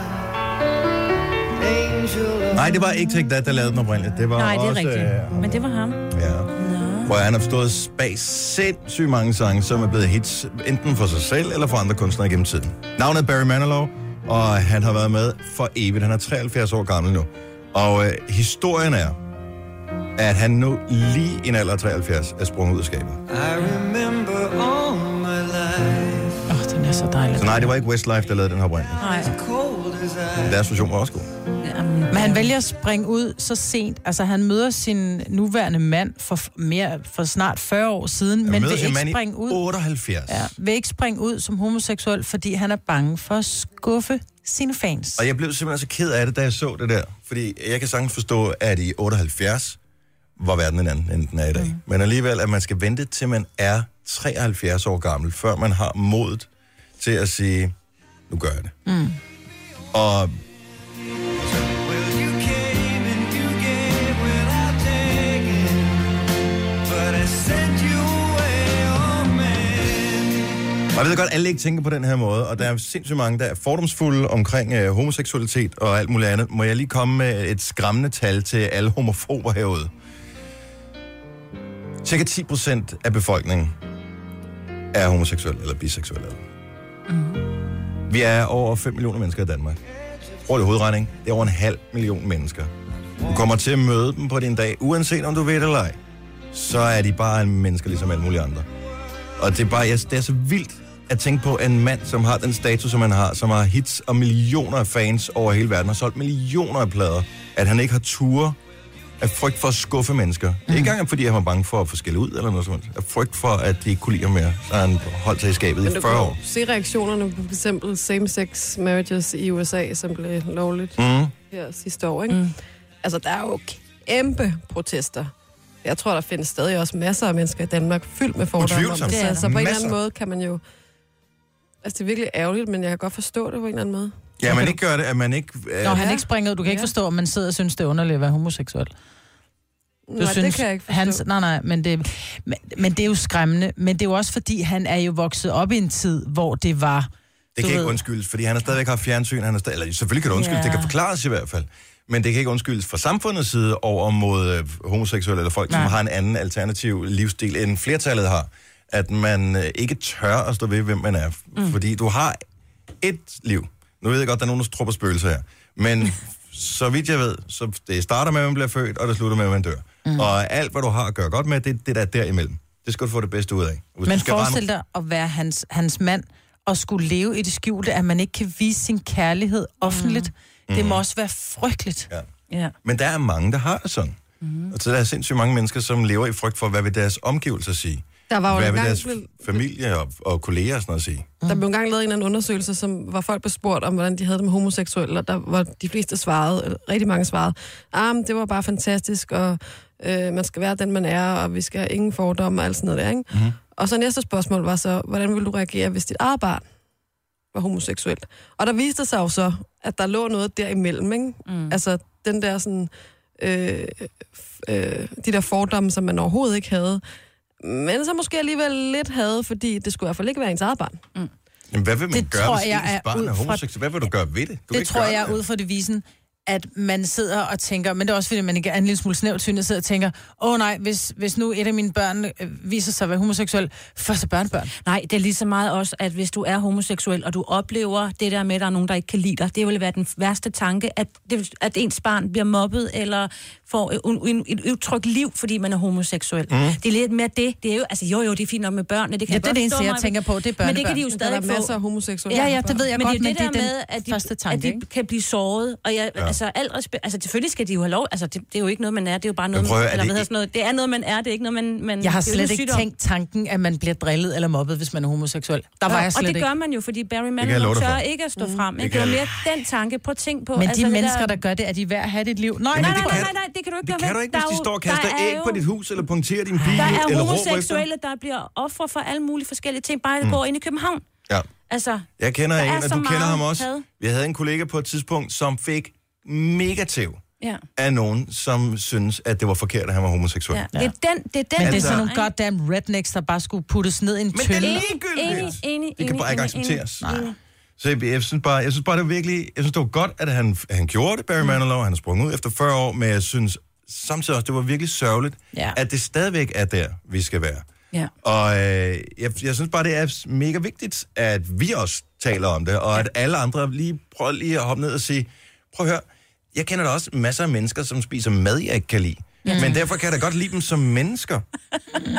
S5: angel of
S1: Nej, det var ikke Take That, der lavede den oprindeligt. Det var
S2: Nej, det er
S1: også,
S2: rigtigt.
S1: Øh,
S2: Men det var ham.
S1: ja.
S2: Nå.
S1: hvor han har forstået bag sindssygt mange sange, som er blevet hits, enten for sig selv eller for andre kunstnere gennem tiden. Navnet er Barry Manilow, og han har været med for evigt. Han er 73 år gammel nu. Og øh, historien er, at han nu lige i en alder af 73 er sprunget ud af skabet.
S5: I remember all my life.
S4: Åh, oh, den er så dejlig.
S1: Så nej, det var ikke Westlife, der lavede den her oprindeligt.
S4: Nej.
S5: Cold as ice.
S1: Deres version var også god.
S4: Men
S3: øh,
S4: han vælger at springe ud så sent. Altså, han møder sin nuværende mand for, f- mere, for snart 40 år siden,
S1: Han
S4: men
S1: møder
S4: vil
S1: sin
S4: ikke
S1: mand i
S4: springe ud.
S1: 78.
S4: Ja, vil ikke springe ud som homoseksuel, fordi han er bange for at skuffe sine fans.
S1: Og jeg blev simpelthen så ked af det, da jeg så det der. Fordi jeg kan sagtens forstå, at i 78 var verden en anden, end den er i dag. Mm. Men alligevel, at man skal vente til man er 73 år gammel, før man har modet til at sige, nu gør jeg det.
S5: Mm.
S1: Og Og jeg ved godt, alle ikke tænker på den her måde, og der er sindssygt mange, der er fordomsfulde omkring øh, homoseksualitet og alt muligt andet. Må jeg lige komme med et skræmmende tal til alle homofober herude? Cirka 10 procent af befolkningen er homoseksuel eller biseksuel. Mm. Vi er over 5 millioner mennesker i Danmark. Rolig hovedregning, det er over en halv million mennesker. Du kommer til at møde dem på din dag, uanset om du ved det eller ej. Så er de bare mennesker ligesom alle mulige andre. Og det er bare, jeg, det er så vildt at tænke på en mand, som har den status, som han har, som har hits og millioner af fans over hele verden, har solgt millioner af plader, at han ikke har ture af frygt for at skuffe mennesker. Mm. Ikke engang fordi han var bange for at få skæld ud eller noget sådan. Af frygt for, at de ikke kunne lide ham mere. Så har han holdt sig i skabet i
S3: du
S1: 40
S3: kunne
S1: år.
S3: se reaktionerne på for eksempel same-sex marriages i USA, som blev lovligt
S1: Mm.
S3: her sidste år. Ikke? Mm. Altså, der er jo kæmpe protester. Jeg tror, der findes stadig også masser af mennesker i Danmark fyldt med fordomme. om
S1: Utvivlsomt.
S3: det.
S1: Det er
S3: Altså, på en eller anden
S1: masser.
S3: måde kan man jo... Altså, det er virkelig ærgerligt, men jeg kan godt forstå det på en eller anden måde.
S1: Ja, man ikke gør det, at man ikke... Øh,
S4: Når han ikke springer ud, du kan ikke
S3: Ja.
S4: forstå, om man sidder og synes, det er underligt at være homoseksuel. Du
S3: Nej, det kan jeg ikke forstå.
S4: han, nej, nej, men det, men, men det er jo skræmmende. Men det er jo også, fordi han er jo vokset op i en tid, hvor det var...
S1: Det
S4: du
S1: kan ikke
S4: ved-
S1: undskyldes, fordi han har stadigvæk haft fjernsyn. Han har stadig, eller selvfølgelig kan det undskyldes,
S4: Ja.
S1: yeah. det kan forklares i hvert fald. Men det kan ikke undskyldes fra samfundets side over mod øh, homoseksuelle eller folk, Nej.
S4: Nej.
S1: som har en anden alternativ livsstil, end flertallet har. At man øh, ikke tør at stå ved, hvem man er. Mm. Fordi du har et liv. Nu ved jeg godt, der er nogen, der trupper spøgelser her. Men så vidt jeg ved, så det starter med, at man bliver født, og det slutter med, at man dør. Mm. Og alt, hvad du har at gøre godt med, det, det der er derimellem. Det skal du få det bedste ud af. Hvis
S4: Men
S1: du skal
S4: forestil dig at være hans, hans mand og skulle leve i det skjulte, at man ikke kan vise sin kærlighed offentligt. Mm. Det
S1: Mhm.
S4: må også være frygteligt.
S1: Ja.
S4: ja.
S1: Men der er mange, der har det sådan. Mm.
S13: Mhm.
S1: Og så der er sindssygt mange mennesker, som lever i frygt for, hvad vil deres omgivelser sige?
S3: Der var jo
S1: hvad
S3: en
S1: vil
S3: gang
S1: deres
S3: blevet-
S1: familie og, og kolleger og sådan noget sige?
S3: Der blev engang lavet en eller anden undersøgelse, som var folk blev spurgt om, hvordan de havde det med homoseksuelle, og der var de fleste svarede, eller rigtig mange svarede, ah, men det var bare fantastisk, og øh, man skal være den, man er, og vi skal have ingen fordomme og alt sådan noget der, ikke? Mm-hmm. Og så næste spørgsmål var så, hvordan ville du reagere, hvis dit eget barn var homoseksuelt? Og der viste sig jo så, at der lå noget derimellem, ikke? Mm. Altså den der sådan, øh, f- øh, de der fordomme, som man overhovedet ikke havde, men så måske alligevel lidt havde, fordi det skulle i hvert fald ikke være ens eget barn.
S1: Jamen, hvad vil man
S4: Det
S1: gøre,
S4: tror
S1: hvis
S4: jeg
S1: ens
S4: er
S1: barn
S4: ud
S1: er
S4: fra-
S1: homoseksuel? Hvad vil du gøre ved det? Du kan
S4: det
S1: ikke
S4: tror
S1: gøre
S4: jeg er ud fra devisen, at man sidder og tænker, men det er også fordi, man ikke er en lille smule snævsynet, sidder og tænker, åh oh, nej, hvis, hvis nu et af mine børn øh, viser sig at være homoseksuel, for så børnebørn.
S13: Nej, det er lige så meget også, at hvis du er homoseksuel, og du oplever det der med, at der er nogen, der ikke kan lide dig, det vil være den værste tanke, at, det, at ens barn bliver mobbet eller får et, un- en, et utrygt liv, fordi man er homoseksuel.
S4: Mhm.
S13: Mm. Det er lidt mere det. Det er jo, altså, jo, jo, det er fint nok med børnene. Det kan
S4: Ja,
S13: jeg
S4: det er
S13: godt
S4: det eneste,
S13: forstå,
S4: jeg
S13: Maja,
S4: tænker på, det er
S13: Men det kan de jo
S4: børnebørn.
S13: stadig
S4: Men der er
S13: få.
S4: masser af
S3: homoseksuelle
S13: Ja, ja,
S3: børn.
S13: det ved jeg
S3: Men det
S13: godt,
S3: er
S13: men
S3: det
S13: det er
S3: der
S13: den
S3: med,
S13: at de,
S4: første tanke,
S13: at de
S4: ikke?
S13: kan blive såret. Og jeg,
S1: Ja.
S13: ja. altså, al respekt, altså, selvfølgelig skal de jo have lov. Altså, det, det, er jo ikke noget, man er. Det er jo bare noget,
S4: prøver, er
S13: man,
S4: det
S13: eller, hvad
S4: ikke-
S13: hedder sådan noget. Det er noget, man er. Det er ikke noget, man... man
S4: Jeg har
S13: det er jo en
S4: slet ikke
S13: sygdom.
S4: tænkt tanken, at man bliver drillet eller mobbet, hvis man er homoseksuel. Der var
S13: Ja,
S4: jeg
S13: og
S4: slet
S13: det
S4: ikke.
S13: gør man jo, fordi Barry
S4: kan jeg love
S13: Manilow
S4: dig
S13: tør
S4: for.
S13: ikke at stå mm. frem.
S4: Det
S13: Ikke?
S4: kan
S13: Det var
S4: jeg-
S13: mere den tanke. Prøv at tænke på.
S4: Men de
S13: det
S4: mennesker, der gør det, er de værd at have et liv? Nej,
S13: Nej,
S4: det
S13: nej,
S4: kan-
S13: nej, nej, nej, det kan du ikke gøre
S1: Det kan
S13: ved.
S1: du ikke,
S13: Der
S1: hvis de
S13: er jo-
S1: står og kaster
S13: der er
S1: æg på
S13: jo-
S1: dit hus, eller punkterer din bil,
S13: Der er
S1: eller råber efter.
S13: homoseksuelle, der bliver ofre for alle mulige forskellige ting, bare at
S1: Mm.
S13: gå ind i København.
S1: Ja.
S13: Altså,
S1: Jeg kender
S13: Der
S1: en,
S13: er
S1: og
S13: så
S1: du kender
S13: meget
S1: ham også.
S13: had.
S1: Vi havde en kollega på et tidspunkt, som fik mega tæv
S13: ja.
S1: af nogen, som synes at det var forkert, at han var homoseksuel.
S13: ja. Det er den, det er den.
S4: Men det er
S1: Altså-
S4: sådan nogle goddamn rednecks, der bare skulle puttes ned i en
S1: det er
S4: tønde.
S1: ligegyldigt.
S13: Enig, enig,
S1: Det kan bare ikke
S13: enig, enig,
S1: accepteres. Mm.
S13: enig.
S1: Nej. Så jeg, jeg synes bare, jeg
S13: Mm.
S1: synes bare det var virkelig, jeg synes det var godt, at han, han gjorde det, Barry Manilow, han er sprunget ud efter 40 år, men jeg synes samtidig også, det var virkelig sørgeligt,
S13: Ja.
S1: at det stadigvæk er der, vi skal være.
S13: Ja.
S1: Og øh, jeg, jeg synes bare, det er mega vigtigt, at vi også taler om det, og at alle andre lige prøver lige at hoppe ned og sige, prøv at høre, jeg kender da også masser af mennesker, som spiser mad, jeg ikke kan lide.
S17: Ja.
S1: Ja. Men derfor kan jeg da godt lide dem som mennesker.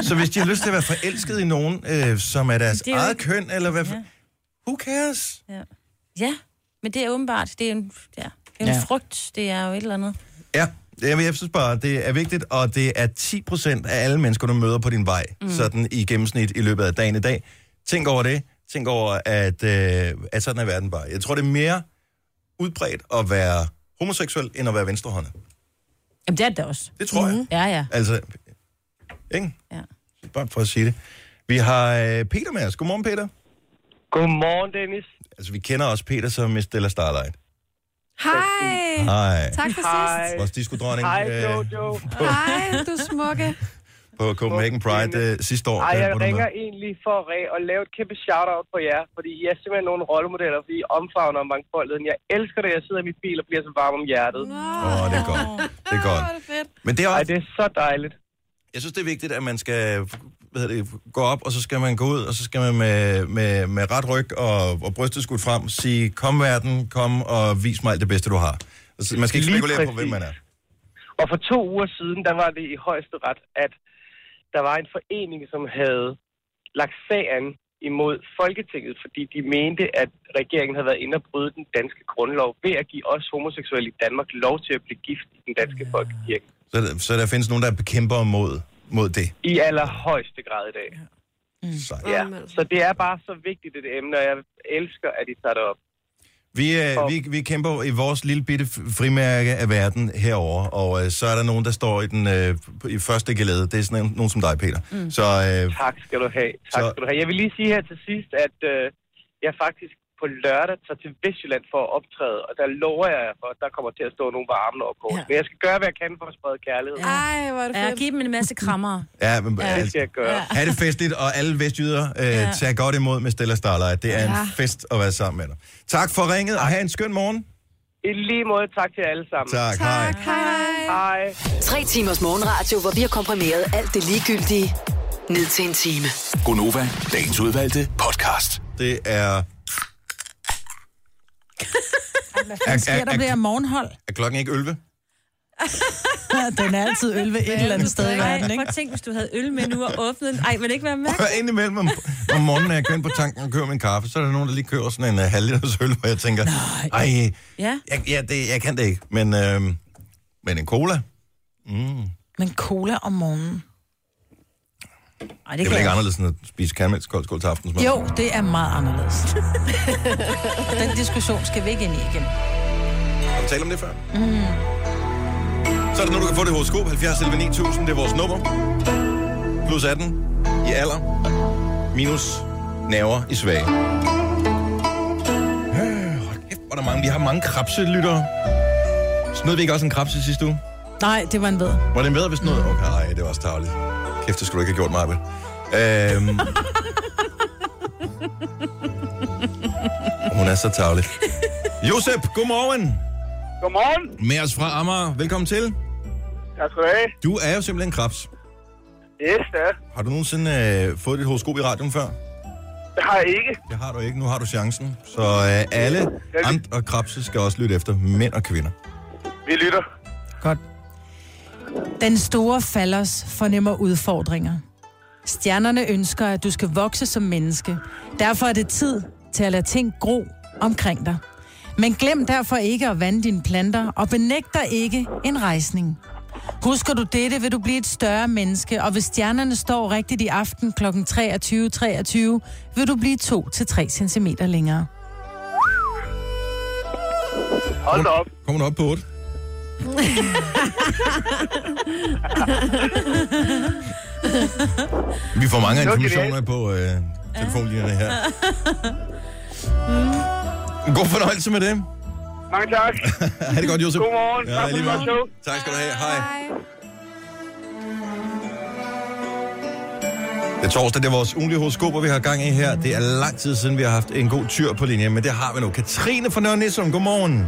S1: Så hvis de har lyst til at være forelsket i nogen, øh, som er deres
S13: Det er
S1: er
S13: jo
S1: eget
S13: ikke-
S1: køn, eller hvad for... Who cares?
S13: Ja. ja, men det er åbenbart, det er en, ja, det er en
S1: Ja.
S13: ja. frugt, det er jo et eller andet.
S1: Ja, jeg, jeg synes bare, det er vigtigt, og det er 10% af alle mennesker, du møder på din vej,
S13: Mm.
S1: mm. sådan i gennemsnit i løbet af dagen i dag. Tænk over det. Tænk over, at, øh, at sådan er verden bare. Jeg tror, det er mere udbredt at være homoseksuel, end at være venstrehåndet.
S13: Jamen, det er det da også.
S1: Det tror
S13: jeg. Ja, ja.
S1: Altså, ikke?
S13: Ja.
S1: Bare for at sige det. Vi har øh, Peter med os. Godmorgen, Peter.
S12: Godmorgen, Dennis.
S1: Altså, vi kender også Peter som Miss Stella Starlight.
S3: Hej.
S1: Hej.
S3: Tak for sidst.
S1: Vores diskodronning
S12: Hej,
S1: øh,
S12: Jojo.
S3: Hej, du smukke.
S1: på Copenhagen Pride øh, sidste år.
S12: Ej,
S1: øh,
S12: jeg
S1: hvor du
S12: ringer
S1: med.
S12: egentlig for at re- og lave et kæmpe shout-out på jer, fordi I er simpelthen nogle rollemodeller, fordi I omfavner mangfoldigheden. Jeg elsker det, jeg sidder i min bil og bliver så varm om hjertet.
S1: Åh, oh, det er godt. Det er godt. Men det er, også, Ej, det
S12: er så dejligt.
S1: Jeg synes, det er vigtigt, at man skal hvad hedder det, gå op, og så skal man gå ud, og så skal man med, med, med ret ryg og, og brystet skudt frem sige, kom verden, kom og vis mig alt det bedste, du har. Altså, man skal ikke
S12: Lige
S1: spekulere på,
S12: præcis.
S1: hvem man er.
S12: Og for to uger siden, der var det i højeste ret, at der var en forening, som havde lagt sagen imod Folketinget, fordi de mente, at regeringen havde været inde og bryde den danske grundlov ved at give os homoseksuelle i Danmark lov til at blive gift i den danske folkekirke.
S1: Så, der- så der findes nogen, der bekæmper mod, mod det.
S12: I allerhøjeste grad i dag.
S1: Sejt.
S12: Ja. Så det er bare så vigtigt et emne, og jeg elsker, at I tager det op.
S1: Vi, øh, vi, vi kæmper i vores lille bitte f- frimærke af verden herover, og øh, så er der nogen, der står i den øh, på- i første gelede. Det er sådan en, nogen som dig, Peter. Mm. Så, øh,
S12: tak skal du have. Tak
S1: så-
S12: skal du have. Jeg vil lige sige her til sidst, at øh, jeg faktisk på lørdag tager til Vestjylland for at optræde, og der lover jeg jer for, at der kommer til at stå nogle varme over på. Ja. Men jeg skal gøre, hvad jeg kan for at sprede kærlighed.
S3: Ej, hvor er det
S13: Ja,
S3: fedt.
S13: giv dem en masse krammer.
S1: Ja, men,
S13: Ja.
S1: ja.
S13: Det skal
S12: jeg gøre. Ja.
S1: Ha' det festligt, og alle vestjyder, øh,
S13: Ja.
S1: ja. tag godt imod med Stella Starlight. Det er ja.
S12: Ja.
S1: en fest at være sammen med dig. Tak for ringet, og have en skøn morgen.
S12: I lige måde, tak til jer alle sammen.
S1: Tak, tak. hej.
S12: Hej. Hej.
S6: Tre timers morgenradio, hvor vi har komprimeret alt det ligegyldige ned til en time.
S7: Gonova, dagens udvalgte podcast.
S1: Det er...
S4: Hvad sker der ved at morgenhold?
S1: Er klokken ikke 11?
S4: Den er altid ølve et eller andet sted i verden,
S13: ikke?
S4: ikke?
S13: Prøv at tænke, hvis du havde øl med nu og åbnet den. Ej, vil det ikke være mærkeligt?
S1: Hør indimellem om, om morgenen, når jeg kører ind på tanken og kører min kaffe, så er der nogen, der lige kører sådan en uh, halv liters øl, hvor jeg tænker, nej,
S4: Ja.
S1: jeg, jeg, det, jeg kan det ikke. Men, øh, men en cola? Mm.
S4: Men cola om morgenen. Ej,
S1: Det, det er vel ikke anderledes end at spise karamelskold skål til aftensmad?
S4: Jo, det er meget anderledes. Den diskussion skal vi ikke ind i igen.
S1: Har vi talt om det før? Så er det nu, du kan få det horoskop. 70 11 9000, det er vores nummer. Plus 18 i alder. Minus naver i svage. Øh, hold kæft, hvor er der mange. Vi har mange krabselyttere. Snød vi ikke også en krabse sidste uge?
S4: Nej, det var en ved.
S1: Var det en bedre, hvis noget? Okay, nej, det var også tavligt. Kæft, det skulle du ikke have gjort, Marbe. Øhm... Og Hun er så tavlig. Josep, godmorgen.
S18: Godmorgen.
S1: Med os fra Amager. Velkommen til.
S18: Tak skal du have.
S1: Du er jo simpelthen krebs.
S18: Yes, det er.
S1: Har du nogensinde øh, fået dit horoskop i radioen før?
S18: Det har jeg ikke.
S1: Det har du ikke. Nu har du chancen. Så øh, alle amt og krebse skal også lytte efter. Mænd og kvinder.
S18: Vi lytter.
S4: Den store fallers fornemmer udfordringer. Stjernerne ønsker, at du skal vokse som menneske. Derfor er det tid til at lade ting gro omkring dig. Men glem derfor ikke at vande dine planter, og benægt dig ikke en rejsning. Husker du dette, vil du blive et større menneske, og hvis stjernerne står rigtigt i aften kl. 23.23, vil du blive 2-3 cm længere.
S18: Hold da op.
S1: Kommer du op på 8? Vi får mange
S18: Det var
S1: informationer på øh, telefonlinjerne her.
S4: Mm.
S1: God fornøjelse med det.
S18: Mange tak.
S1: ha' det godt, Josef.
S18: Godmorgen.
S1: Ja,
S18: tak for
S1: lige
S18: det
S1: meget.
S18: godt show.
S1: Tak skal du have. Hej. Det er torsdag, det er vores ugenlige horoskoper, vi har gang i her. Det er lang tid siden, vi har haft en god tyr på linjen, men det har vi nu. Katrine fra Nørre Nissum, godmorgen.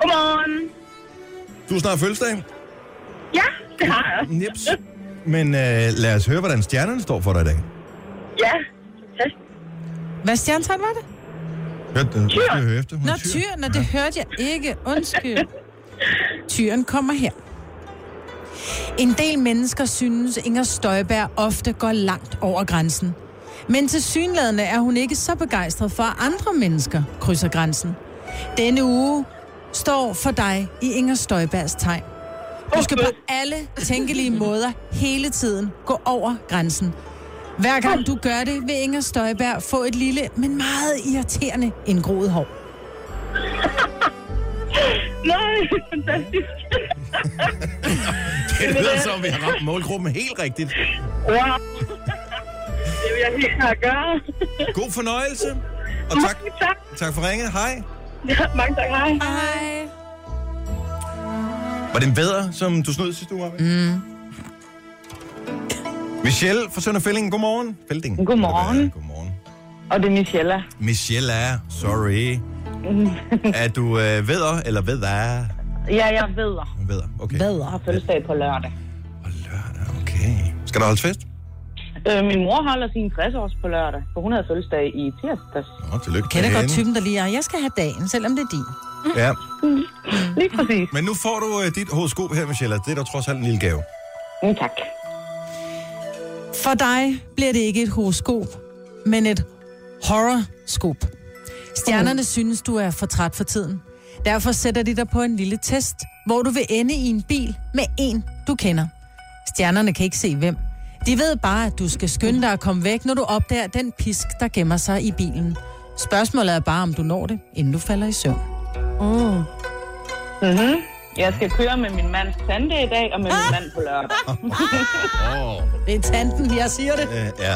S14: Godmorgen.
S1: Du er snart fødselsdag.
S18: Ja, det har jeg.
S1: Nips. Men øh, lad os høre, hvordan stjernerne står for dig i dag.
S18: Ja.
S4: Hvad stjernetegn var det?
S1: Hørte du? Tyr. Hørte efter.
S4: Nå, tyr. Nå, det hørte jeg ikke. Undskyld. Tyren kommer her. En del mennesker synes, Inger Støjberg ofte går langt over grænsen. Men til synlædende er hun ikke så begejstret for, at andre mennesker krydser grænsen. Denne uge står for dig i Inger Støjbergs tegn. Du skal på alle tænkelige måder hele tiden gå over grænsen. Hver gang du gør det, vil Inger Støjberg få et lille, men meget irriterende indgroet hår.
S18: Nej, fantastisk.
S1: Det lyder som, om vi har ramt målgruppen helt rigtigt.
S18: Wow. Det vil jeg helt klart gøre.
S1: God fornøjelse. Og tak,
S18: tak.
S1: tak for ringet. Hej.
S18: Ja, mange tak. Hej.
S4: Hej.
S1: Var det en bedre, som du snød sidste uge, Maja?
S4: Mm.
S1: Michelle fra Sønder Fælling, godmorgen. Fælding.
S17: Godmorgen.
S1: Godmorgen.
S17: Og det er Michelle.
S1: Michelle er, sorry. er du øh, vedder, eller vedder?
S17: ja, jeg ved.
S1: Vedder, okay.
S17: Bedre. Har fødselsdag på lørdag.
S1: Skal der holdes fest?
S17: Øh, min mor holder sin 60 års på lørdag, for hun havde fødselsdag i tirsdags.
S1: Nå, tillykke.
S4: Kan det
S1: med
S4: godt
S1: hende.
S4: typen, der lige er, jeg skal have dagen, selvom det er din.
S1: Ja.
S17: Lige præcis.
S1: Men nu får du øh, dit horoskop her, Michelle. Det er da trods alt en lille gave.
S17: Mm, tak.
S4: For dig bliver det ikke et horoskop, men et horrorskop. Stjernerne synes, du er for træt for tiden. Derfor sætter de dig på en lille test, hvor du vil ende i en bil med en, du kender. Stjernerne kan ikke se hvem. De ved bare, at du skal skynde dig at komme væk, når du opdager den pisk, der gemmer sig i bilen. Spørgsmålet er bare, om du når det, inden du falder i søvn.
S17: Mm. Mm-hmm. Jeg skal køre med min mands tante i dag, og med min mand på lørdag.
S1: Åh,
S4: Det er tanten, jeg siger det.
S1: øh, ja.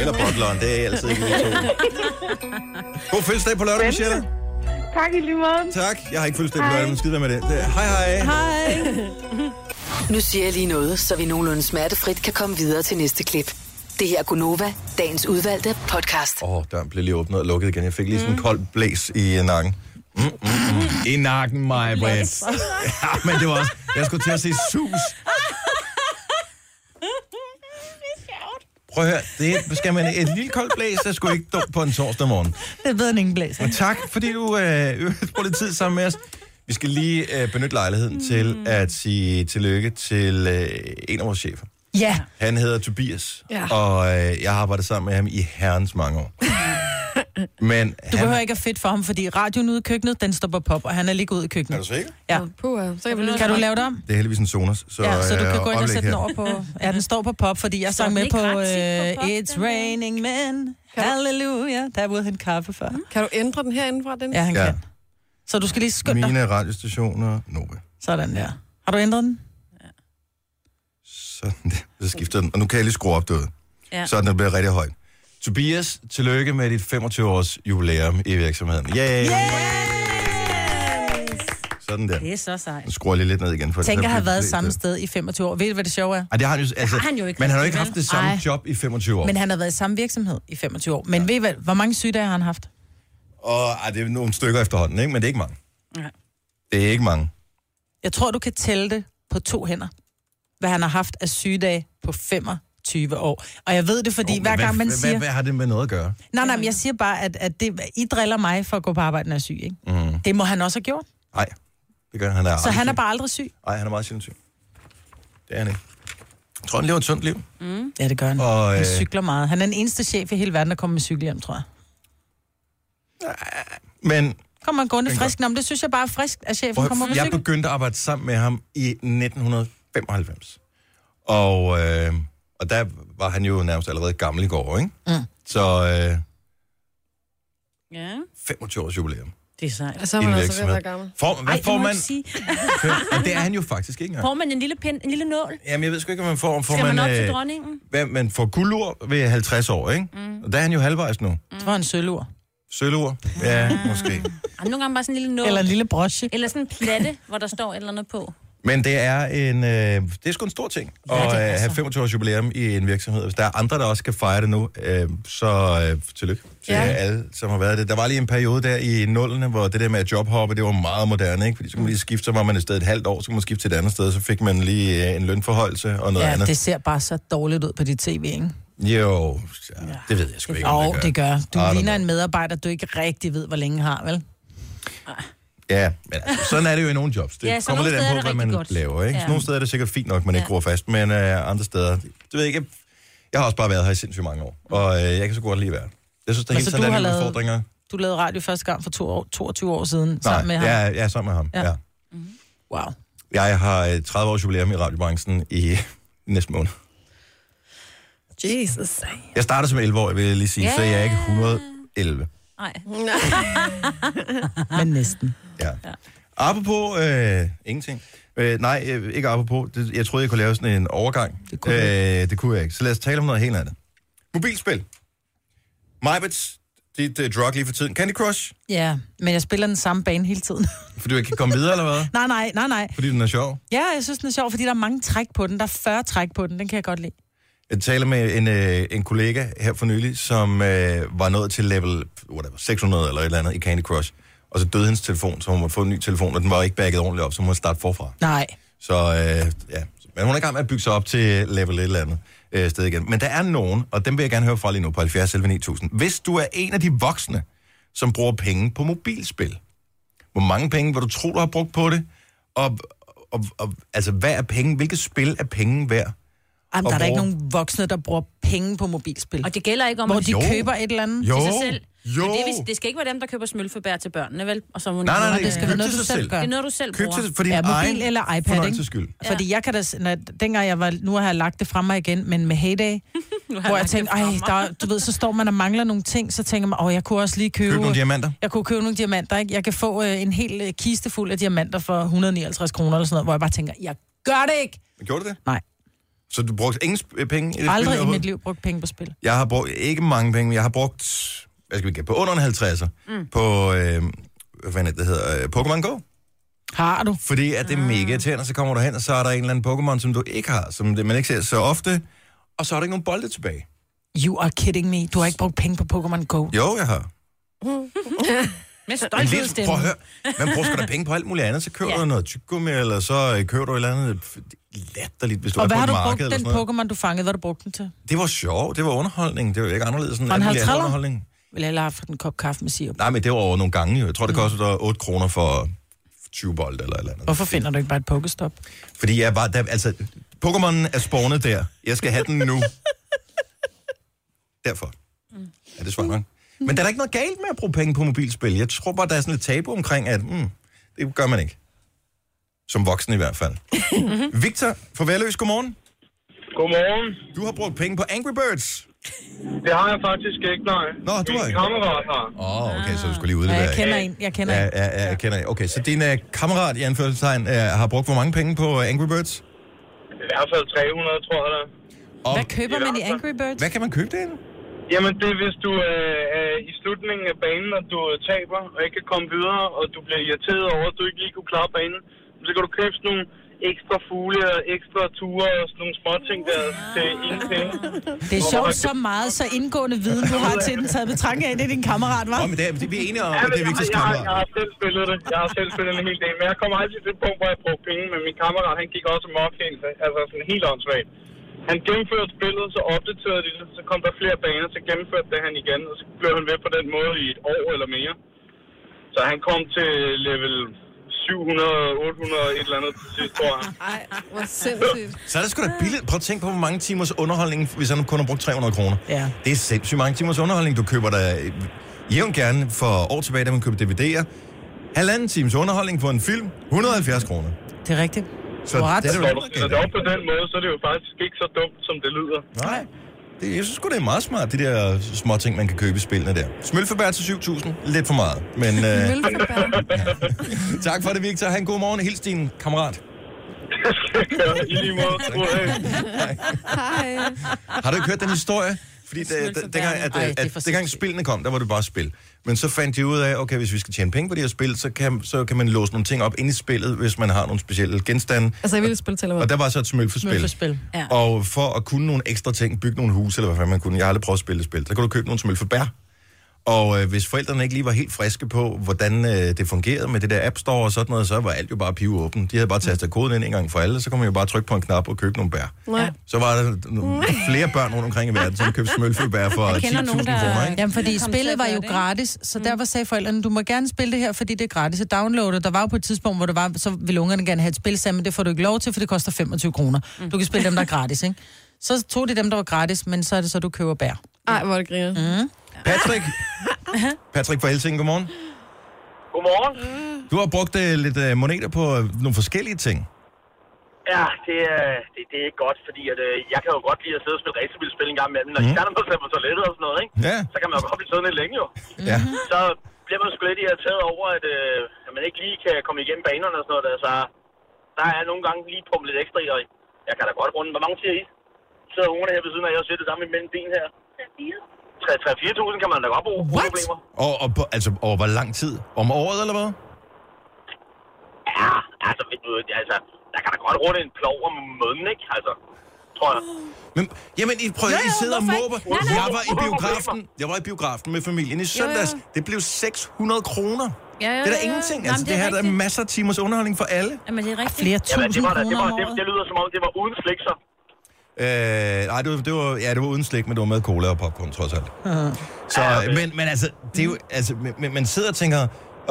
S1: Eller bottleren, det er altid ikke lige to. God fødselsdag på lørdag, Michelle.
S17: Tak i lige måde.
S1: Tak. Jeg har ikke fødselsdag på lørdag, men skid være med det. Det- Hej, hej.
S4: Hej.
S6: Nu siger jeg lige noget, så vi nogenlunde smertefrit kan komme videre til næste klip. Det her er Gunova, dagens udvalgte podcast.
S1: Åh, oh, døren blev lige åbnet og lukket igen. Jeg fik lige sådan en kold blæs i øh, nakken. Mm, mm, mm. I nakken, mig, Britt. Ja, men det var også... Jeg skulle til at sige sus. Prøv at høre, det skal man... Et lille koldt blæs er sgu ikke dumt på en torsdag morgen.
S4: Det er bedre end ingen blæser.
S1: Og tak, fordi du øh, bruger lidt tid sammen med os. Vi skal lige øh, benytte lejligheden mm. til at sige tillykke til øh, en af vores chefer.
S4: Ja.
S1: Han hedder Tobias,
S4: Ja.
S1: og øh, jeg har arbejdet sammen med ham i herrens mange år. Men
S4: Du
S1: han...
S4: behøver ikke at fedt for ham, fordi radioen ude i køkkenet, den står på pop, og han er lige ude i køkkenet. Er
S1: du sikker?
S4: Ja.
S3: Puh, så kan, vi
S4: kan du lave det om?
S1: Det er heldigvis en Sonos, så,
S4: ja, så du
S1: øh,
S4: kan gå ind og
S1: oplæg
S4: sætte den
S1: her.
S4: over på... Ja, den står på pop, fordi jeg
S13: Står
S4: sang
S13: den
S4: med
S13: ikke
S4: på,
S13: ret tit på
S4: øh,
S13: pop, den
S4: It's Raining Men, Hallelujah. Der er ude en kaffe før.
S3: kan du ændre den herinde fra den?
S4: Ja, han
S1: Ja.
S4: kan. Så du skal lige skynde dig.
S1: Mine radiostationer, Nova.
S4: Sådan der. Har du ændret den?
S1: Sådan der. Så skifter den, og nu kan jeg lige skrue op derude.
S4: Ja.
S1: Så den bliver rigtig høj. Tobias, tillykke med dit 25-års jubilæum i virksomheden. Yay! Yes! Sådan der.
S4: Det er så sejt.
S1: Nu skruer jeg lige lidt ned igen. For
S4: Tænk
S1: så
S4: at have
S1: bliver øh,
S4: været
S1: det-
S4: samme sted i 25 år. Ved du, hvad det sjove er?
S1: Ej, det har han jo, altså,
S4: har han jo ikke
S1: men han har jo ikke
S4: rigtig,
S1: haft det
S4: vel?
S1: samme
S4: Ej.
S1: job i 25 år.
S4: Men han har været i samme virksomhed i 25 år. Men ved I hvad, hvor mange sygedage har han haft?
S1: Og ej, det er nogle stykker efterhånden, ikke? men det er ikke mange.
S4: Ja.
S1: Det er ikke mange.
S4: Jeg tror, du kan tælle det på to hænder, hvad han har haft af sygedage på 25 år. Og jeg ved det, fordi oh, hver gang man
S1: hvad,
S4: siger...
S1: Hvad, hvad har det med noget at gøre?
S4: Nej, nej, men jeg siger bare, at, at det, I driller mig for at gå på arbejde, når jeg er syg, ikke?
S1: Mm.
S4: Det må han også have gjort.
S1: Nej, det gør han. er
S4: Så
S1: aldrig
S4: han er
S1: syg.
S4: bare aldrig syg.
S1: Nej, han er meget sjældent syg. Det er han ikke. Jeg tror, han lever et sundt liv.
S4: Mm. Ja, det gør han.
S1: Og,
S4: Han
S1: øh,
S4: cykler meget. Han er den eneste chef i hele verden, der kommer med cykel hjem, tror jeg.
S1: men
S4: Kommer han gående
S1: Den gør-
S4: frisk? Nå, men det synes jeg bare er frisk, at chefen kommer
S1: prøv,
S4: med
S1: jeg
S4: cykel.
S1: begyndte at arbejde sammen med ham i 1995. Og, øh, og der var han jo nærmest allerede gammel i går, ikke?
S4: Mm.
S1: Så øh,
S2: Ja.
S1: 25 års jubilæum.
S2: Det er sejt.
S1: Og så er man I en altså ved at virksomhed. være gammel. Får- hvad
S13: Ej, det må
S1: får
S13: jeg
S1: man?
S13: ikke sige.
S1: Og det er han jo faktisk ikke engang.
S13: Får man en lille, pind, en lille nål?
S1: Jamen, jeg ved sgu ikke, hvad man får. får
S13: Skal man op til
S1: øh,
S13: dronningen?
S1: Hvad, man får guldur ved 50 år, ikke? Mm. Og der er han jo halvvejs nu.
S4: Det var en sølvur. Mm.
S1: Sølvur? Ja, måske.
S13: Ej, nogle gange bare sådan en lille nål.
S4: Eller en lille broche.
S13: Eller sådan en platte, hvor der står et eller andet på.
S1: Men det er en, øh, det er sgu en stor ting ja, at øh,
S4: altså.
S1: have 25 års jubilæum i en virksomhed. Hvis der er andre, der også skal fejre det nu, øh, så øh, tillykke til ja.
S14: Ja.
S1: alle, som har været det. Der var lige en periode der i nullerne, hvor det der med at jobhoppe, det var meget moderne, ikke? Fordi så kunne man lige skifte, så var man et sted et halvt år, så kunne man skifte til et andet sted, så fik man lige øh, en lønforhøjelse og noget
S4: ja,
S1: andet.
S4: det ser bare så dårligt ud på dit tv, ikke?
S1: Jo, ja, det Ah, ved jeg sgu ikke, om
S4: Åh, det gør. Du
S1: I don't
S4: ligner en medarbejder, du ikke rigtig ved, hvor længe har, vel?
S1: Ja, men altså, sådan er det jo i nogle jobs. Det
S4: Ja,
S1: ja,
S4: så
S1: kommer
S4: nogle
S1: lidt
S4: steder
S1: an
S4: er
S1: på,
S4: det
S1: hvad
S4: rigtig
S1: man
S4: godt.
S1: laver. Ikke? Ja.
S4: Ja.
S1: Nogle steder er det sikkert fint nok, man ikke gror fast, men øh, andre steder... Det ved jeg ikke. Jeg har også bare været her i sindssygt mange år, og øh, jeg kan så godt lide være. her. Jeg synes, der er
S4: Men så
S1: hele
S4: du
S1: tiden er
S4: har
S1: nogle
S4: lavet-
S1: udfordringer.
S4: Du lavede radio første gang for to år, 22 år siden Nej, sammen med ham. Mm-hmm.
S1: Ja, ja, sammen med ham. Ja. ja.
S4: Wow.
S1: Jeg har øh, 30 års jubilæum i radiobranchen i næste måned.
S3: Jesus.
S1: Jeg startede som 11 år, vil jeg lige sige, yeah. så jeg er ikke 111.
S13: Nej.
S4: Men næsten.
S1: Ah. Apropos øh, ingenting. Øh, nej, øh, ikke apropos. Det, jeg troede, jeg kunne lave sådan en overgang. Det kunne, øh, det kunne jeg ikke. Så lad os tale om noget helt andet. Mobilspil. Majbets, dit øh, drug lige for tiden. Candy Crush,
S4: Ja, men jeg spiller den samme bane hele tiden.
S1: for du ikke kan komme videre, eller hvad?
S4: nej, nej, nej, nej.
S1: Fordi den er sjov.
S4: Ja, jeg synes, den er sjov, fordi der er mange træk på den. Der er 40 træk på den. Den kan jeg godt lide.
S1: Jeg taler med en, øh, en kollega her for nylig, som øh, var nået til level whatever, 600 eller et eller andet i Candy Crush. Og så døde hendes telefon, så hun måtte få en ny telefon, og den var ikke bagget ordentligt op, så hun måtte starte forfra.
S4: Nej.
S1: Så øh, ja, men hun er i gang med at bygge sig op til level et eller andet øh, sted igen. Men der er nogen, og dem vil jeg gerne høre fra lige nu på 70 11 9000. Hvis du er en af de voksne, som bruger penge på mobilspil, hvor mange penge vil du tro, du har brugt på det? Og, og, og altså, hvad er penge? Hvilket spil er penge værd?
S4: Jamen, der er
S1: Og
S4: der ikke
S1: bruger-
S4: nogen voksne, der bruger penge på mobilspil.
S13: Og det gælder ikke om,
S4: Hvor
S13: at-
S4: de
S13: Jo.
S4: køber et eller andet
S13: Jo.
S4: til sig
S13: Til sig
S4: selv.
S13: selv.
S1: Jo.
S13: Men Det, er vist- det skal ikke være dem, der køber smølfebær til børnene, vel? Og så
S1: Nej, nej, nej,
S4: det skal være noget, du selv gør.
S13: Det er noget, du selv bruger.
S4: ja, mobil eller iPad, ikke?
S1: fornøjelses skyld.
S4: Ja. Fordi jeg kan da, s- når, dengang jeg var, nu har jeg lagt det fra mig igen, men med Heyday, hvor jeg
S13: lagt det
S4: tænkte,
S13: fra
S4: ej,
S13: mig."
S4: der, er- du ved, så står man og mangler nogle ting, så tænker man, åh, jeg kunne også lige købe...
S1: Køb nogle diamanter.
S4: Jeg kunne købe nogle diamanter, ikke? Jeg kan få øh, en hel øh, kiste fuld af diamanter for 159 kroner eller sådan noget, hvor jeg bare tænker, jeg gør det ikke!
S1: Gjorde du det?
S4: Nej.
S1: Så du brugte ingen sp- penge? I det spil
S4: Aldrig i
S1: overhovedet?
S4: mit liv brugt penge på spil.
S1: Jeg har brugt ikke mange penge, men jeg har brugt, hvad skal vi gætte, på under en 50'er
S4: Mm.
S1: mm. på, øh, hvad fanden er det, det hedder, øh, Pokémon Go.
S4: Har du?
S1: Fordi at det er mega irriterende, så kommer du hen, og så er der en eller anden Pokémon, som du ikke har, som det, man ikke ser så ofte, og så er der ikke nogen bolde tilbage.
S4: You are kidding me. Du har ikke brugt penge på Pokémon Go.
S1: Jo, jeg har.
S13: Med
S1: Men
S13: stolthed
S1: lidt, prøv at høre, man bruger sgu da penge på alt muligt andet, så køber ja. du noget tyggegummi, eller så øh, køber du et eller andet f- latterligt, hvis du
S4: og
S1: er på
S4: hvad
S1: et
S4: har du
S1: marked.
S4: brugt
S1: eller
S4: den
S1: sådan noget.
S4: Pokémon, du fangede, hvad har du brugt den til?
S1: Det var sjovt, det var underholdning, det var ikke anderledes end
S4: Var den
S1: alt muligt andet
S4: 50'er?
S1: underholdning.
S4: Vil jeg hellere have haft en kop kaffe med sirup?
S1: Nej, men det var over nogle gange jo. Jeg tror,
S19: Mm.
S1: det kostede dig 8 kroner for 20 bold eller et eller andet.
S4: Hvorfor finder du ikke bare et Pokestop?
S1: Fordi jeg var der, altså, Pokémonen er spawnet der. Jeg skal have den nu. Derfor.
S19: Mm.
S1: Ja, det svarer nok. Men der er da ikke noget galt med at bruge penge på mobilspil. Jeg tror bare, der er sådan lidt tabu omkring, at mm, det gør man ikke. Som voksen i hvert fald. Victor fra Værløs, godmorgen.
S19: Godmorgen.
S1: Du har brugt penge på Angry Birds.
S19: Det har jeg faktisk ikke, nej.
S1: Nå, du har
S19: Min
S1: ikke.
S19: kammerat har.
S1: Åh, oh, okay, så du skulle lige udlevere.
S19: Ja, jeg kender en.
S4: Jeg
S1: ja, ja, ja, jeg kender en. Okay, så din uh, kammerat i anførselstegn uh, har brugt hvor mange penge på øh, Angry Birds?
S19: I hvert fald 300, tror jeg da.
S1: Og
S4: Hvad køber man i Angry Birds?
S1: Hvad kan man købe det
S19: Jamen, det er, hvis du øh, er i slutningen af banen, og du øh, taber, og ikke kan komme videre, og du bliver irriteret over, at du ikke lige kunne klare banen, så kan du købe sådan nogle ekstra fugle og ekstra ture og sådan nogle småting der til ingen penge.
S4: Det er sjovt så meget, så indgående viden, du har til den taget betragtning af, det er din kammerat, var.
S1: men det er, vi er enige
S19: Ja, men jeg, har- jeg, har- jeg har selv spillet det. Jeg har selv spillet det en hel del. Men jeg kommer aldrig til det punkt, hvor jeg brugte penge. Men min kammerat, han gik også mok helt, altså sådan helt åndssvagt. Han gennemførte spillet, så opdaterede de det, så kom der flere baner, så gennemførte det han igen, og så blev han ved på den måde i et år eller mere. Så han kom til level 700, 800, et eller andet til sidst, tror jeg.
S3: Ej, hvor sindssygt.
S1: Så er det
S4: Øh.
S1: sgu da billigt. Prøv at tænke på, hvor mange timers underholdning, hvis han kun har brugt 300 kroner.
S4: Ja.
S1: Det er sindssygt mange timers underholdning, du køber da jævnt gerne for år tilbage, da man købte DVD'er. Halvanden times underholdning for en film, 170 kroner.
S4: Det er rigtigt.
S1: Så
S4: Du har ret.
S1: det er
S19: Så
S1: jo
S19: når du
S1: ikke
S19: stiller det op på den måde, så er det jo faktisk ikke så dumt, som det lyder.
S1: Nej. Det, jeg synes sgu, det er meget smart, de der små ting, man kan købe i spillene der. Smølfebær til 7.000. Lidt for meget. Men øh, tak for det, Victor. Ha' en god morgen. Hils din kammerat.
S19: I lige måde.
S1: Har du ikke hørt den historie Fordi
S4: Det smelter
S1: det, det, dengang, at,
S4: verden. Ej, det er
S1: at,
S4: for
S1: at, dengang spillene kom, der var det bare spil. Men så fandt de ud af, okay, hvis vi skal tjene penge på de her spil, så kan, så kan man låse nogle ting op ind i spillet, hvis man har nogle specielle genstande.
S3: Altså, jeg ville spille til
S1: Og der var så et smølfespil.
S3: Smølfespil, ja.
S1: Og for at kunne nogle ekstra ting, bygge nogle huse, eller hvad fanden man kunne, jeg har aldrig prøvet at spille det spil, så kan du købe nogle smølfebær. Og øh, hvis forældrene ikke lige var helt friske på, hvordan øh, det fungerede med det der App Store og sådan noget, så var alt jo bare pivåbent. De havde bare tastet koden ind en gang for alle, så kunne man jo bare trykke på en knap og købe nogle bær.
S3: Nej.
S1: Så var der nogle flere børn rundt omkring i verden, som købte smølfebær for 10.000 kroner, ikke?
S4: Jamen, fordi
S1: Det Mm. kom
S4: spillet var jo gratis, så derfor sagde forældrene, du må gerne spille det her, fordi det er gratis at downloade. Der var jo på et tidspunkt, hvor det var, så ville ungerne gerne have et spil, sagde, men det får du ikke lov til, for det koster 25 kroner.
S1: Mm.
S4: Du kan spille dem, der er gratis, ikke? Så tog de dem, der var gratis, men så er det så, du køber bær.
S3: Ej, hvor er det griner.
S4: Mm.
S1: Patrick, Patrick fra Helsing, godmorgen.
S18: Godmorgen.
S13: Mm.
S1: Du har brugt øh, lidt øh, moneter på øh, nogle forskellige ting.
S14: Ja, det, er- det, det er ikke godt, fordi at, øh, jeg kan jo godt lide at sidde og spille racerbilspil en gang imellem. Når mm. jeg er på toilettet og sådan noget, ikke?
S1: Ja.
S14: så kan man jo godt blive siddende længe jo. Mm-hmm.
S1: Ja.
S14: Så bliver man sgu lidt irriteret over, at, øh, at man ikke lige kan komme igennem banerne og sådan noget. Der. Så der er nogle gange lige på lidt ekstra i, og jeg kan da godt runde. Hvor mange siger I? Så ungerne her ved siden af, jeg sidder det samme imellem ben her. 3-4.000 kan man da godt bruge. What? Problemer.
S1: Og, og på, altså, over hvor lang tid? Om året, eller hvad?
S14: Ja, altså, ved du, altså, der kan da godt runde en plov om måneden, ikke? Altså, tror jeg.
S1: Men, jamen, I prøver,
S14: Jo,
S1: jo,
S14: jo,
S1: jo, I sidder og
S14: hvorfor
S1: måber.
S14: ikke? Nej, nej.
S1: Jeg var i
S14: Hvorfor
S1: biografen, jeg var i biografen med familien i
S14: Jo, jo.
S1: søndags. Det blev 600 kroner.
S13: Ja, ja,
S1: det er
S13: ja,
S1: da
S13: ja.
S1: ingenting.
S13: Nå,
S1: Altså,
S13: men
S1: det,
S13: det er
S1: her der er
S13: rigtigt.
S1: masser af timers underholdning for alle.
S13: Jamen, det er rigtigt.
S14: Jamen, det, var, da- det, var, det, det lyder som om, det var uden slikser.
S1: Øh, nej, det var, det var, ja, det var uden slik, men det var med cola og popcorn, trods alt. Så,
S14: Ja,
S1: ja,
S14: okay.
S1: okay. men, men altså, det er jo, altså men- men, man sidder og tænker,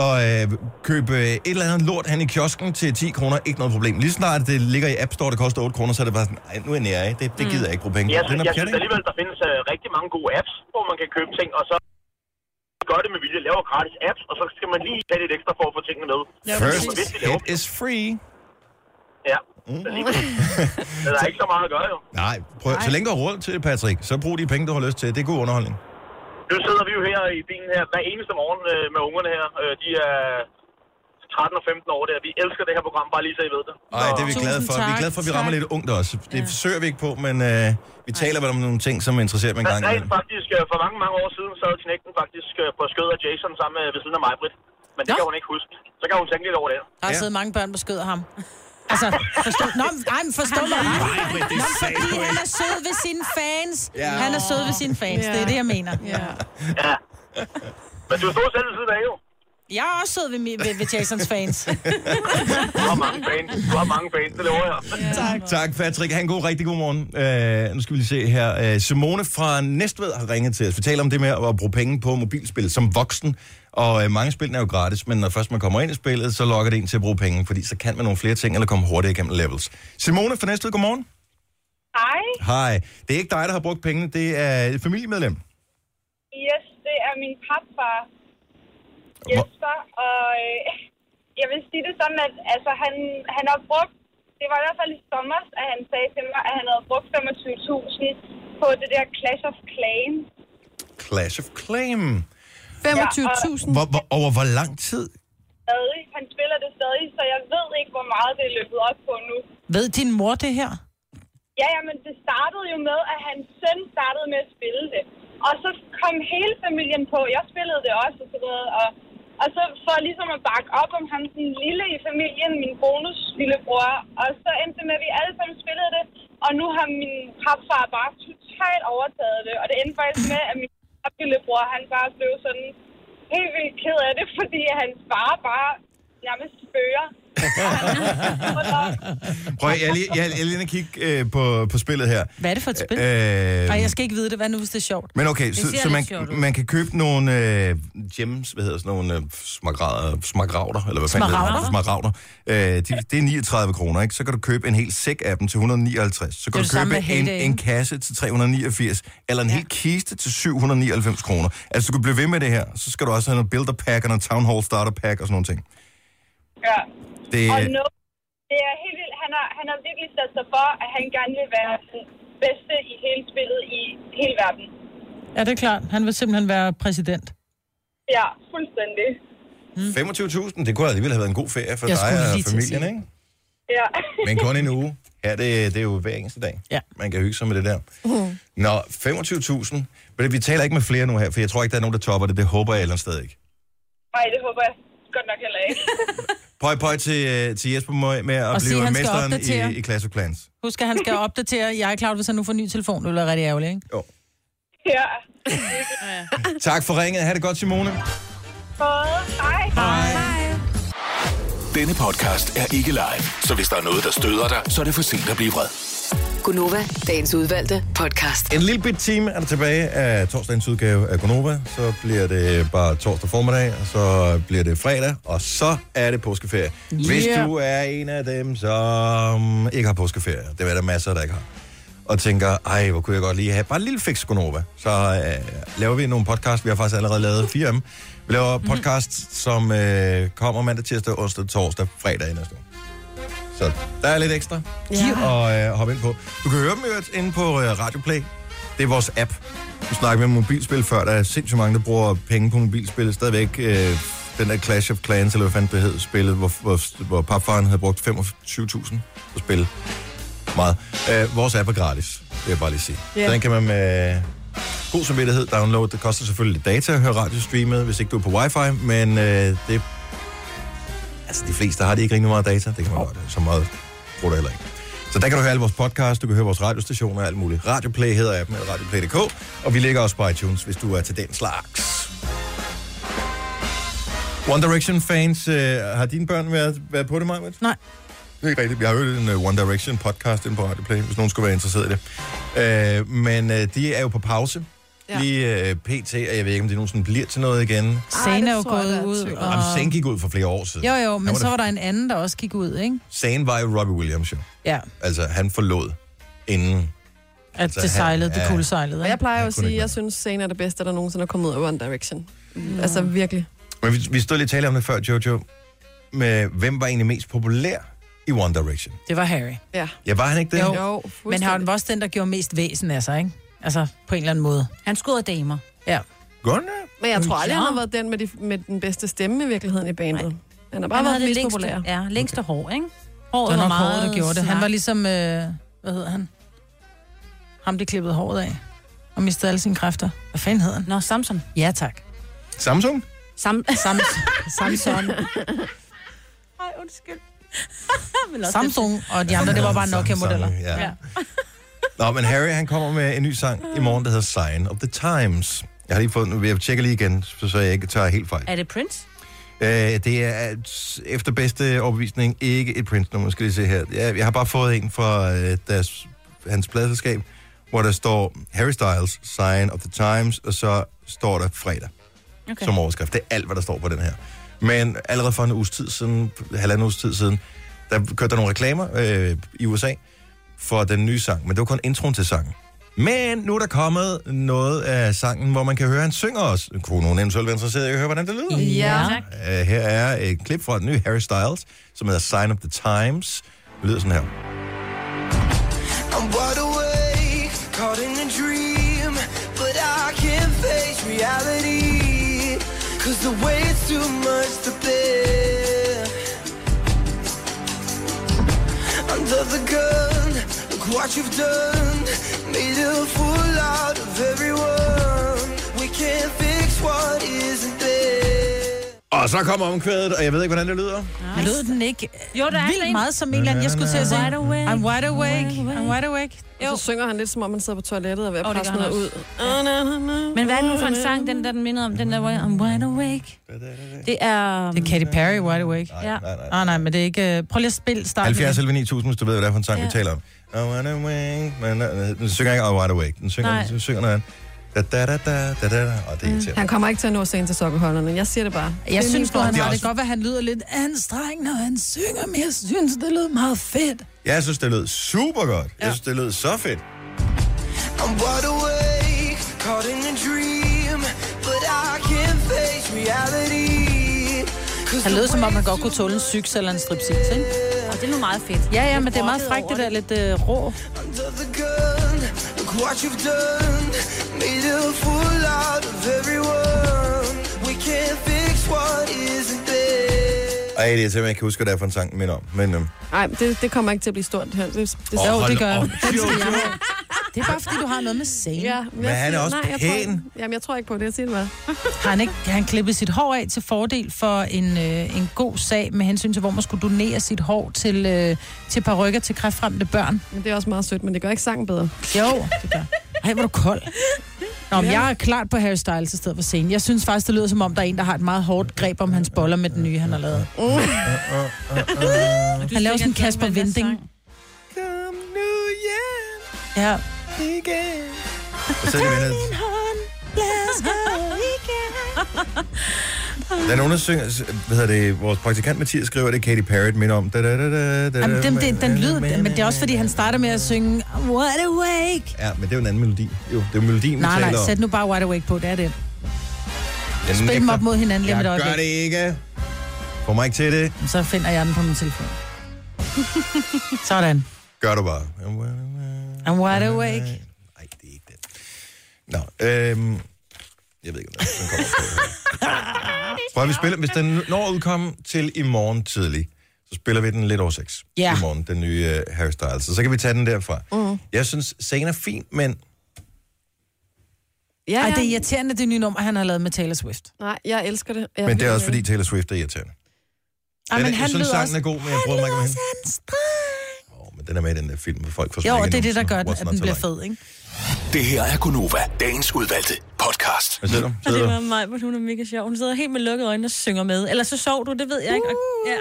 S1: og øh, købe øh, et eller andet lort han i kiosken til 10 kroner, ikke noget problem. Lige snart det ligger i App Store, det koster 8 kroner, så er det bare sådan, "Ej, nu er jeg nære af. Det, det gider jeg ikke bruge penge på.
S14: Jeg,
S1: Den er
S14: jeg
S1: pjat,
S14: synes
S1: ikke?
S14: alligevel, der findes uh, rigtig mange gode apps, hvor man kan købe ting, og så gør det med vilje, laver gratis apps, og så skal man lige have lidt ekstra for at få tingene med.
S1: First
S14: Hvis de laver-
S1: hit is free.
S14: Ja, mm. der er ikke så meget at gøre, jo.
S1: Nej, prøv, så længe du har råd til det, Patrick, så brug de penge, du har lyst til. Det er god underholdning.
S14: Nu sidder vi jo her i bilen her hver eneste morgen øh, med ungerne her. Øh, de er 13 og 15 år der. Vi elsker det her program, bare lige så I ved det.
S1: Ej, det er vi glade for. Vi er glade for, at vi rammer lidt ungt også. Det forsøger vi ikke på, men øh, vi taler vel om nogle ting, som interesserer mig en gang.
S14: Rent faktisk, øh, for mange, mange år siden, sad knægten faktisk øh, på skødet af Jason sammen med ved siden af mig, Britt. Men det kan hun ikke huske. Så kan hun tænke lidt over det.
S4: Der har siddet mange børn på skød af ham. Altså, forstå, nå, men- ej, men forstå mig. ret.
S1: men det
S4: Nå,
S1: sagde
S4: fordi
S1: du
S4: han
S1: ikke.
S4: er sød ved sine fans.
S1: Ja.
S4: Han er sød ved sine fans.
S1: Ja.
S4: Det er det, jeg mener. Ja.
S14: Ja. Men du stod selv ved siden af jo.
S4: Jeg er også sød ved, mi- ved, ved Jasons fans.
S14: Du har mange fans. Du har mange fans, det lover jeg.
S1: Tak. Tak, Patrick. Ha' en god, rigtig god morgen. Øh, nu skal vi lige se her. Øh, Simone fra Næstved har ringet til os. Vi taler om det med at bruge penge på mobilspil som voksen. Og øh, mange spil er jo gratis, men når først man kommer ind i spillet, så lokker det ind til at bruge penge, fordi så kan man nogle flere ting, eller komme hurtigere igennem levels. Simone fra Næstved, godmorgen.
S18: Hej.
S1: Hej. Det er ikke dig, der har brugt pengene. Det er et familiemedlem.
S18: Yes, det er min papfar, Jesper, og øh, jeg vil sige det sådan, at altså, han, han har brugt, det var i hvert fald i sommer, at han sagde til mig, at han havde brugt 25.000 på det der Clash of Clans.
S1: Clash of Claim.
S18: 25.000.
S1: Hvor, hvor, over hvor lang tid?
S18: Stadig. Han spiller det stadig, så jeg ved ikke, hvor meget det er løbet op på nu.
S4: Ved din mor det her?
S18: Ja, jamen det startede jo med, at hans søn startede med at spille det. Og så kom hele familien på. Jeg spillede det også og sådan noget. Og, og så for ligesom at bakke op om ham, den lille i familien, min bonus lillebror. Og så endte det med, at vi alle sammen spillede det. Og nu har min papfar bare totalt overtaget det. Og det endte faktisk med, at min pap lillebror, han bare blev sådan helt vildt ked af det, fordi hans far bare nærmest spørger.
S1: Prøv at- jeg er lige, jeg, er- jeg er lige inde og kigge øh, på, på spillet her.
S4: Hvad er det for et spil?
S1: Øh,
S4: Ej, jeg skal ikke vide det. Hvad nu, hvis det er sjovt?
S1: Men okay, så, så man, man kan købe nogle øh, gems, hvad hedder sådan nogle øh, smaragder, smaragder, eller hvad fanden hedder det? Smaragder. Øh, de, det er 39 kroner, ikke? Så kan du købe en hel sæk af dem til 159. Så kan
S4: Det er det
S1: du
S4: samme
S1: købe
S4: med
S1: en,
S4: Hay Day,
S1: en kasse til 389, eller en ja. hel kiste til 799 kroner. Altså, du kan blive ved med det her. Så skal du også have noget builder pack og noget town hall starter pack og sådan nogle ting.
S18: Ja.
S1: Det,
S18: Og no, det er helt vildt. Han har, han har virkelig sat sig for, at han gerne vil være den bedste i hele spillet i hele verden.
S4: Ja, det er klart. Han vil simpelthen være præsident.
S18: Ja, fuldstændig.
S1: 25.000, det kunne alligevel have været en god ferie for
S4: Mm. Jeg
S1: dig
S4: skulle
S1: og
S4: lige til at
S1: familien,
S4: sige.
S1: ikke?
S18: Ja.
S1: Men kun en uge. Ja, det, det er jo hver eneste dag. Ja. Man kan hygge sig med det der.
S18: Mhm.
S1: Nå, 25.000. Men vi taler ikke med flere nu her, for jeg tror ikke, der er nogen, der topper det. Det håber jeg ellers stadig ikke.
S18: Nej, det håber jeg godt nok heller ikke.
S1: Pøj, pøj til, øh, til Jesper Møg med at
S4: Og sige,
S1: blive
S4: han skal
S1: mesteren
S4: opdatere.
S1: i, i Clash of Clans.
S4: Husk, at han skal opdatere. Jeg er klar, hvis han nu får ny telefon. Det bliver rigtig ærgerligt, ikke?
S1: Jo.
S18: ja.
S1: Tak for ringet. Ha' det godt, Simone.
S18: Både. Hej. Hej. Hej.
S7: Denne podcast er ikke live, så hvis der er noget, der støder dig, så er det for sent at blive vred.
S6: Gunova, dagens udvalgte podcast.
S1: En lille bit time er der tilbage af torsdagens udgave af Gonova. Så bliver det bare torsdag formiddag, og så bliver det fredag, og så er det påskeferie. Yeah. Hvis
S7: Yeah.
S1: du er en af dem, som ikke har påskeferie, det er der masser, der ikke har, og tænker, ej, hvor kunne jeg godt lige have bare en lille fix Gonova, så øh, laver vi nogle podcasts. Vi har faktisk allerede lavet fire af dem. Vi laver
S7: Mhm.
S1: mm-hmm. podcasts, som øh, kommer mandag, tirsdag, onsdag, torsdag, fredag i næste uge. Så der er lidt ekstra
S7: Ja.
S1: og øh, hoppe ind på. Du kan høre dem i øvrigt inde på øh, Radio Play. Det er vores app. Du snakkede med mobilspil før. Der er sindssygt mange, der bruger penge på mobilspil. Stadigvæk øh, den der Clash of Clans, eller hvad fanden det hed, spillet, hvor, hvor, hvor papfaren havde brugt 25.000 på spil. Meget. Øh, vores app er gratis, vil jeg bare lige sige.
S7: Ja.
S1: Så den kan man med god samvittighed downloade. Det koster selvfølgelig lidt data at høre radiostreamet, hvis ikke du er på wifi, men øh, det... Altså, de fleste har det ikke rigtig meget data. Det kan man godt. Så meget bruger det heller ikke. Så der kan du høre alle vores podcasts, du kan høre vores radiostationer og alt muligt. Radioplay hedder appen, eller radioplay.dk, og vi ligger også på iTunes, hvis du er til den slags. One Direction-fans, øh, har dine børn været, været på det, Marvind?
S4: Nej.
S1: Det er ikke rigtigt. Vi har hørt en uh, One Direction podcast inde på Radio Play, hvis nogen skulle være interesseret i det. Uh, men uh, de er jo på pause. Ja.
S4: Ja.
S1: Lige uh, pt, og jeg ved ikke, om det nogensinde bliver til noget igen.
S4: Zane er jo gået ud.
S1: Og... Jamen, Zane gik ud for flere år siden.
S4: Jo, jo, men
S1: Han
S4: så var der en anden, der også gik ud, ikke?
S1: Zane var jo Robbie Williams, jo.
S4: Ja,
S1: Altså, han forlod inden...
S4: at altså, det sejlede, det cool sejlede.
S3: Og jeg plejer jo at
S1: kunne
S3: sige,
S1: ikke
S3: at jeg synes, Zayn er det bedste, der nogensinde er kommet ud af One Direction. Mm. Altså virkelig.
S1: Men vi, vi stod lidt og talte om det før, Jojo. Med, hvem var egentlig mest populær i One Direction?
S4: Det var Harry.
S3: Ja.
S1: Ja, var han ikke det?
S4: Jo, jo men han var også den, der gjorde mest væsen af sig, ikke? Altså, på en eller anden måde. Han skudder damer. Ja.
S1: Gør han det?
S3: Men jeg tror aldrig,
S4: Ja.
S3: han har været den med, de, med den bedste stemme i virkeligheden i bandet. Nej. Han har bare
S13: Han
S3: været
S13: havde det
S3: mest
S13: længste-
S3: populær.
S13: ja, længste hår, ikke?
S4: Håret det var,
S13: var
S4: nok
S13: meget
S4: håret, der gjorde det. Han
S13: snak.
S4: var ligesom, øh, hvad hedder han? Ham, det klippede håret af. Og mistede alle sine kræfter. Hvad fanden hedder han? Nå, Samson. Ja, tak.
S1: Samsung?
S4: Sam Sam Samson.
S13: Ej, undskyld.
S4: Samsung og de andre, det var bare
S1: Samsung,
S4: Nokia-modeller.
S1: ja. Nå, men Harry, han kommer med en ny sang i morgen, der hedder Sign of the Times. Jeg har lige fået den, jeg tjekker lige igen, så så jeg ikke tager helt fejl.
S13: Er det Prince?
S1: Øh, det er et- efter bedste overbevisning ikke et Prince-nummer, skal lige se her. Jeg, jeg har bare fået en fra øh, deres, hans pladselskab, hvor der står Harry Styles, Sign of the Times, og så står der fredag okay. som overskrift. Det er alt, hvad der står på den her. Men allerede for en uges tid siden, halvanden uges tid siden, der kørte der nogle reklamer øh, i USA for den nye sang, men det var kun introen til sangen. Men nu er der kommet noget af sangen, hvor man kan høre, at han synger også. Kunne nogen eventuelt være interesseret i at høre, hvordan det lyder?
S3: Ja.
S1: Øh, her er et klip fra den nye Harry Styles, som hedder Sign of the Times. Det lyder sådan her.
S5: I'm wide awake, caught in a dream, but I can't face reality. Cause the weight's too much to bear. Under the gun, look what you've done. Made a fool out of everyone. We can't fix what isn't there.
S1: Og så kommer omkvædet, og jeg ved ikke, hvordan det lyder.
S4: Men lød den ikke
S13: jo, der er
S4: vildt
S13: en.
S4: meget som en eller anden? Jeg skulle til at sige,
S3: Wide awake,
S4: I'm wide awake,
S3: wide
S4: I'm wide awake.
S3: Og så synger han lidt, som om man sidder på toilettet og er ved
S13: Åh,
S3: at
S13: det
S3: presse
S13: gør han
S3: noget ud.
S13: også. Men hvad er det nu for en sang, den der den mindede om? Den der, hvor jeg- I'm wide awake. Det er...
S4: Det er Katy Perry, Wide Awake.
S13: Ja.
S1: Nej, nej.
S4: Nej, nej, men det er ikke... øh, Prøv lige at spille starten.
S1: 70 11 9000, hvis du ved, hvad det er for en sang, ja. vi
S4: Ja.
S1: taler om. I wanna wake, men øh, den synger ikke I wide awake. Den synger,
S3: Nej.
S1: den synger noget andet. Da, da, da, da, da, da, da. Og det
S4: Mm.
S1: er irriterende.
S3: Han kommer ikke til at nå sig ind til sokkeholderne. Jeg siger det bare. Det er
S4: Jeg synes
S3: lige
S4: nu,
S3: for-
S4: han har det godt, hvad han lyder lidt anstrengt, når han synger, men jeg synes, det lød meget fedt.
S1: Jeg synes, det lød super godt. Ja. Jeg synes, det lød så fedt.
S5: I'm wide awake, caught in a dream, but I can't face reality.
S4: Han lød som om, han godt kunne tåle en syks eller en stripsis, ikke?
S13: Og det er nu meget fedt.
S4: Ja, ja, men det er meget frækt, det der lidt øh, rå.
S5: Under the gun, look what you've done. Made a fool out of everyone. We can't fix what isn't there.
S1: Ej, det er simpelthen, jeg kan huske, hvad det er for en sang, den minder om. Men, øhm,
S3: Nej, det, det kommer ikke til at blive stort det her. Det, det,
S1: Åh,
S3: jo,
S1: hold
S3: det gør
S1: op.
S3: jeg.
S1: Jo,
S4: Det er bare, fordi du har noget med scenen.
S3: Ja,
S1: Men han er også
S3: nej, Jeg tror,
S4: pæn.
S3: jamen, jeg tror ikke på det, jeg siger det bare.
S4: Har han, ikke, har han klippet sit hår af til fordel for en, øh, en god sag med hensyn til, hvor man skulle donere sit hår til, øh, til parrykker til kræftramte børn?
S3: Men det er også meget sødt, men det gør ikke sangen bedre.
S4: Jo, det gør. Ej, hvor er du kold. Nå, men
S3: Ja.
S4: jeg er klart på Harry Styles i stedet for scenen. Jeg synes faktisk, det lyder som om, der er en, der har et meget hårdt greb om hans boller med den nye, han har lavet. Han laver sådan en Kasper Vinding. Ja.
S1: så er det venner. Der er nogen, der synger, s- hvad hedder det, vores praktikant Mathias skriver, det er Katy Perry, minder om. Da, da, da, da, da,
S4: Jamen, den, den, den lyd, Øh, men det er også, fordi han starter med at synge Wide Awake.
S1: Ja, men det er jo en anden melodi. Jo, det er jo melodien, vi
S4: Nej,
S1: taler
S4: nej,
S1: om.
S4: sæt nu bare Wide Awake på, det er det.
S1: Den
S4: Spil dem
S1: nægter.
S4: op mod hinanden lige om et
S1: Jeg
S4: øjeblik.
S1: gør det ikke. Får mig ikke til det.
S4: Så finder jeg den på min telefon. Sådan.
S1: Gør du bare.
S4: I'm wide awake.
S1: Nå, øhm, jeg ved ikke, om den den kommer på. her. Prøv at vi spiller, hvis den når at udkomme til i morgen tidlig, så spiller vi den lidt over 6
S5: Ja.
S1: i morgen, den nye uh, Harry Styles. Så, så kan vi tage den derfra.
S4: Mm.
S1: Jeg synes, sagen er fin, men
S4: Ja, ja. Ej, det er irriterende, det nye nummer, han har lavet med Taylor Swift.
S3: Nej, jeg elsker det. Jeg
S1: Men det er også fordi Taylor Swift er irriterende.
S4: Ej, Ah,
S1: Den
S4: men
S1: er-
S4: han
S1: jeg synes,
S4: lyder
S1: sangen
S4: også-
S1: er god, men jeg prøver mig ikke med hende. Åh, men den er med i den der film, hvor folk får
S4: Jo,
S1: smækket
S4: og det er
S1: nogen,
S4: det, der
S1: sådan,
S4: gør, den,
S1: what's
S4: at
S1: not
S4: den
S1: to
S4: bliver
S1: like.
S4: fed, ikke?
S7: Det her er Gunova, dagens udvalgte podcast.
S1: Hvad siger du?
S2: Og det var mig, hvor hun er mega sjov. Hun sidder helt med lukkede øjne og synger med. Eller så sov du, det ved jeg ikke. Og, ja.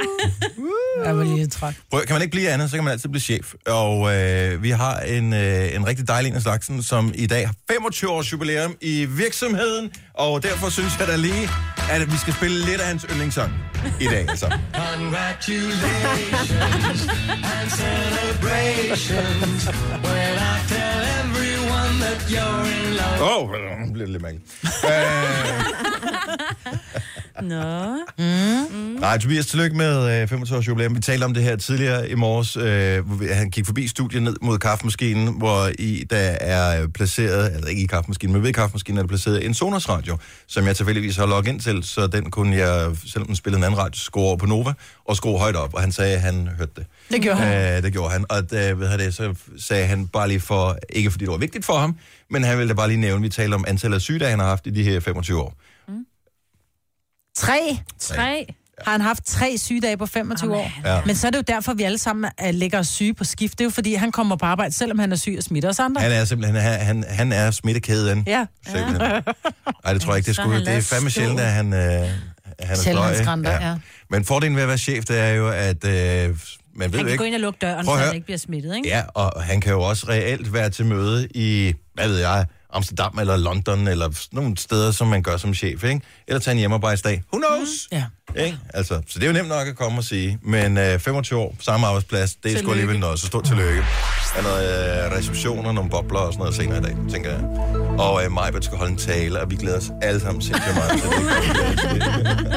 S4: Jeg var lige træt.
S1: Prøv, kan man ikke blive andet, så kan man altid blive chef. Og øh, vi har en, øh, en rigtig dejlig en af slagsen, som i dag har 25 års jubilæum i virksomheden, og derfor synes jeg da lige, at vi skal spille lidt af hans yndlingssang i dag. Altså.
S5: Congratulations and celebrations when I tell everyone that you're in love.
S1: Åh, oh, nu bliver det lidt mærkeligt. Øh,
S2: Nå.
S4: Mm.
S1: nej, Tobias, tillykke med øh, 25 års jubilæum. Vi talte om det her tidligere i morges, øh, hvor vi- han gik forbi studiet ned mod kaffemaskinen, hvor i der er øh, placeret, altså ikke i kaffemaskinen, men ved kaffemaskinen er der placeret en Sonos radio, som jeg tilfældigvis har logget ind til, så den kunne jeg, selvom den spillede en anden radio, skrue over på Nova og skrue højt op, og han sagde, at han hørte det.
S4: Det gjorde han.
S1: Øh, det gjorde han. Og da, hvad hedder det, så sagde han bare lige for, ikke fordi det var vigtigt for ham, men han ville da bare lige nævne, vi taler om antallet af sygedage, han har haft i de her 25 år.
S4: Tre.
S2: Tre.
S4: Har han haft tre sygedage på 25 år?
S1: Ja.
S4: Men så er det jo derfor, vi alle sammen er ligger og syge på skift. Det er jo fordi, han kommer på arbejde, selvom han er syg og smitter os andre.
S1: Han er simpelthen, han, han, han er smittekæden.
S4: Ja.
S1: Simpelthen. Nej, det tror jeg ikke, det
S4: Så
S1: skulle.
S4: han
S1: Det er
S4: lader
S1: fandme
S4: stå.
S1: sjældent, at han, øh, han er
S4: Selv
S1: sløj,
S4: hans
S1: ikke?
S4: skrænter, ja.
S1: Men fordelen ved at være chef, det er jo, at øh, man ved
S13: Han
S1: jo
S13: kan
S1: ikke...
S13: gå ind og lukke døren,
S1: Prøv at
S13: så
S1: høre.
S13: han ikke bliver smittet, ikke?
S1: Ja, og han kan jo også reelt være til møde i, hvad ved jeg, Amsterdam eller London, eller sådan nogle steder, som man gør som chef, ikke? Eller tage en hjemmearbejdsdag. Who knows?
S4: Ja.
S1: Ikke? Altså, så det er jo nemt nok at komme og sige, men øh, 25 år, samme arbejdsplads, det er sgu
S4: Tillykke.
S1: alligevel noget, så stort tillykke. Der er noget øh, reception og nogle bobler og sådan noget senere i dag, tænker jeg. Og øh, Majbert skal holde en tale, og vi glæder os alle sammen sindssygt meget til det.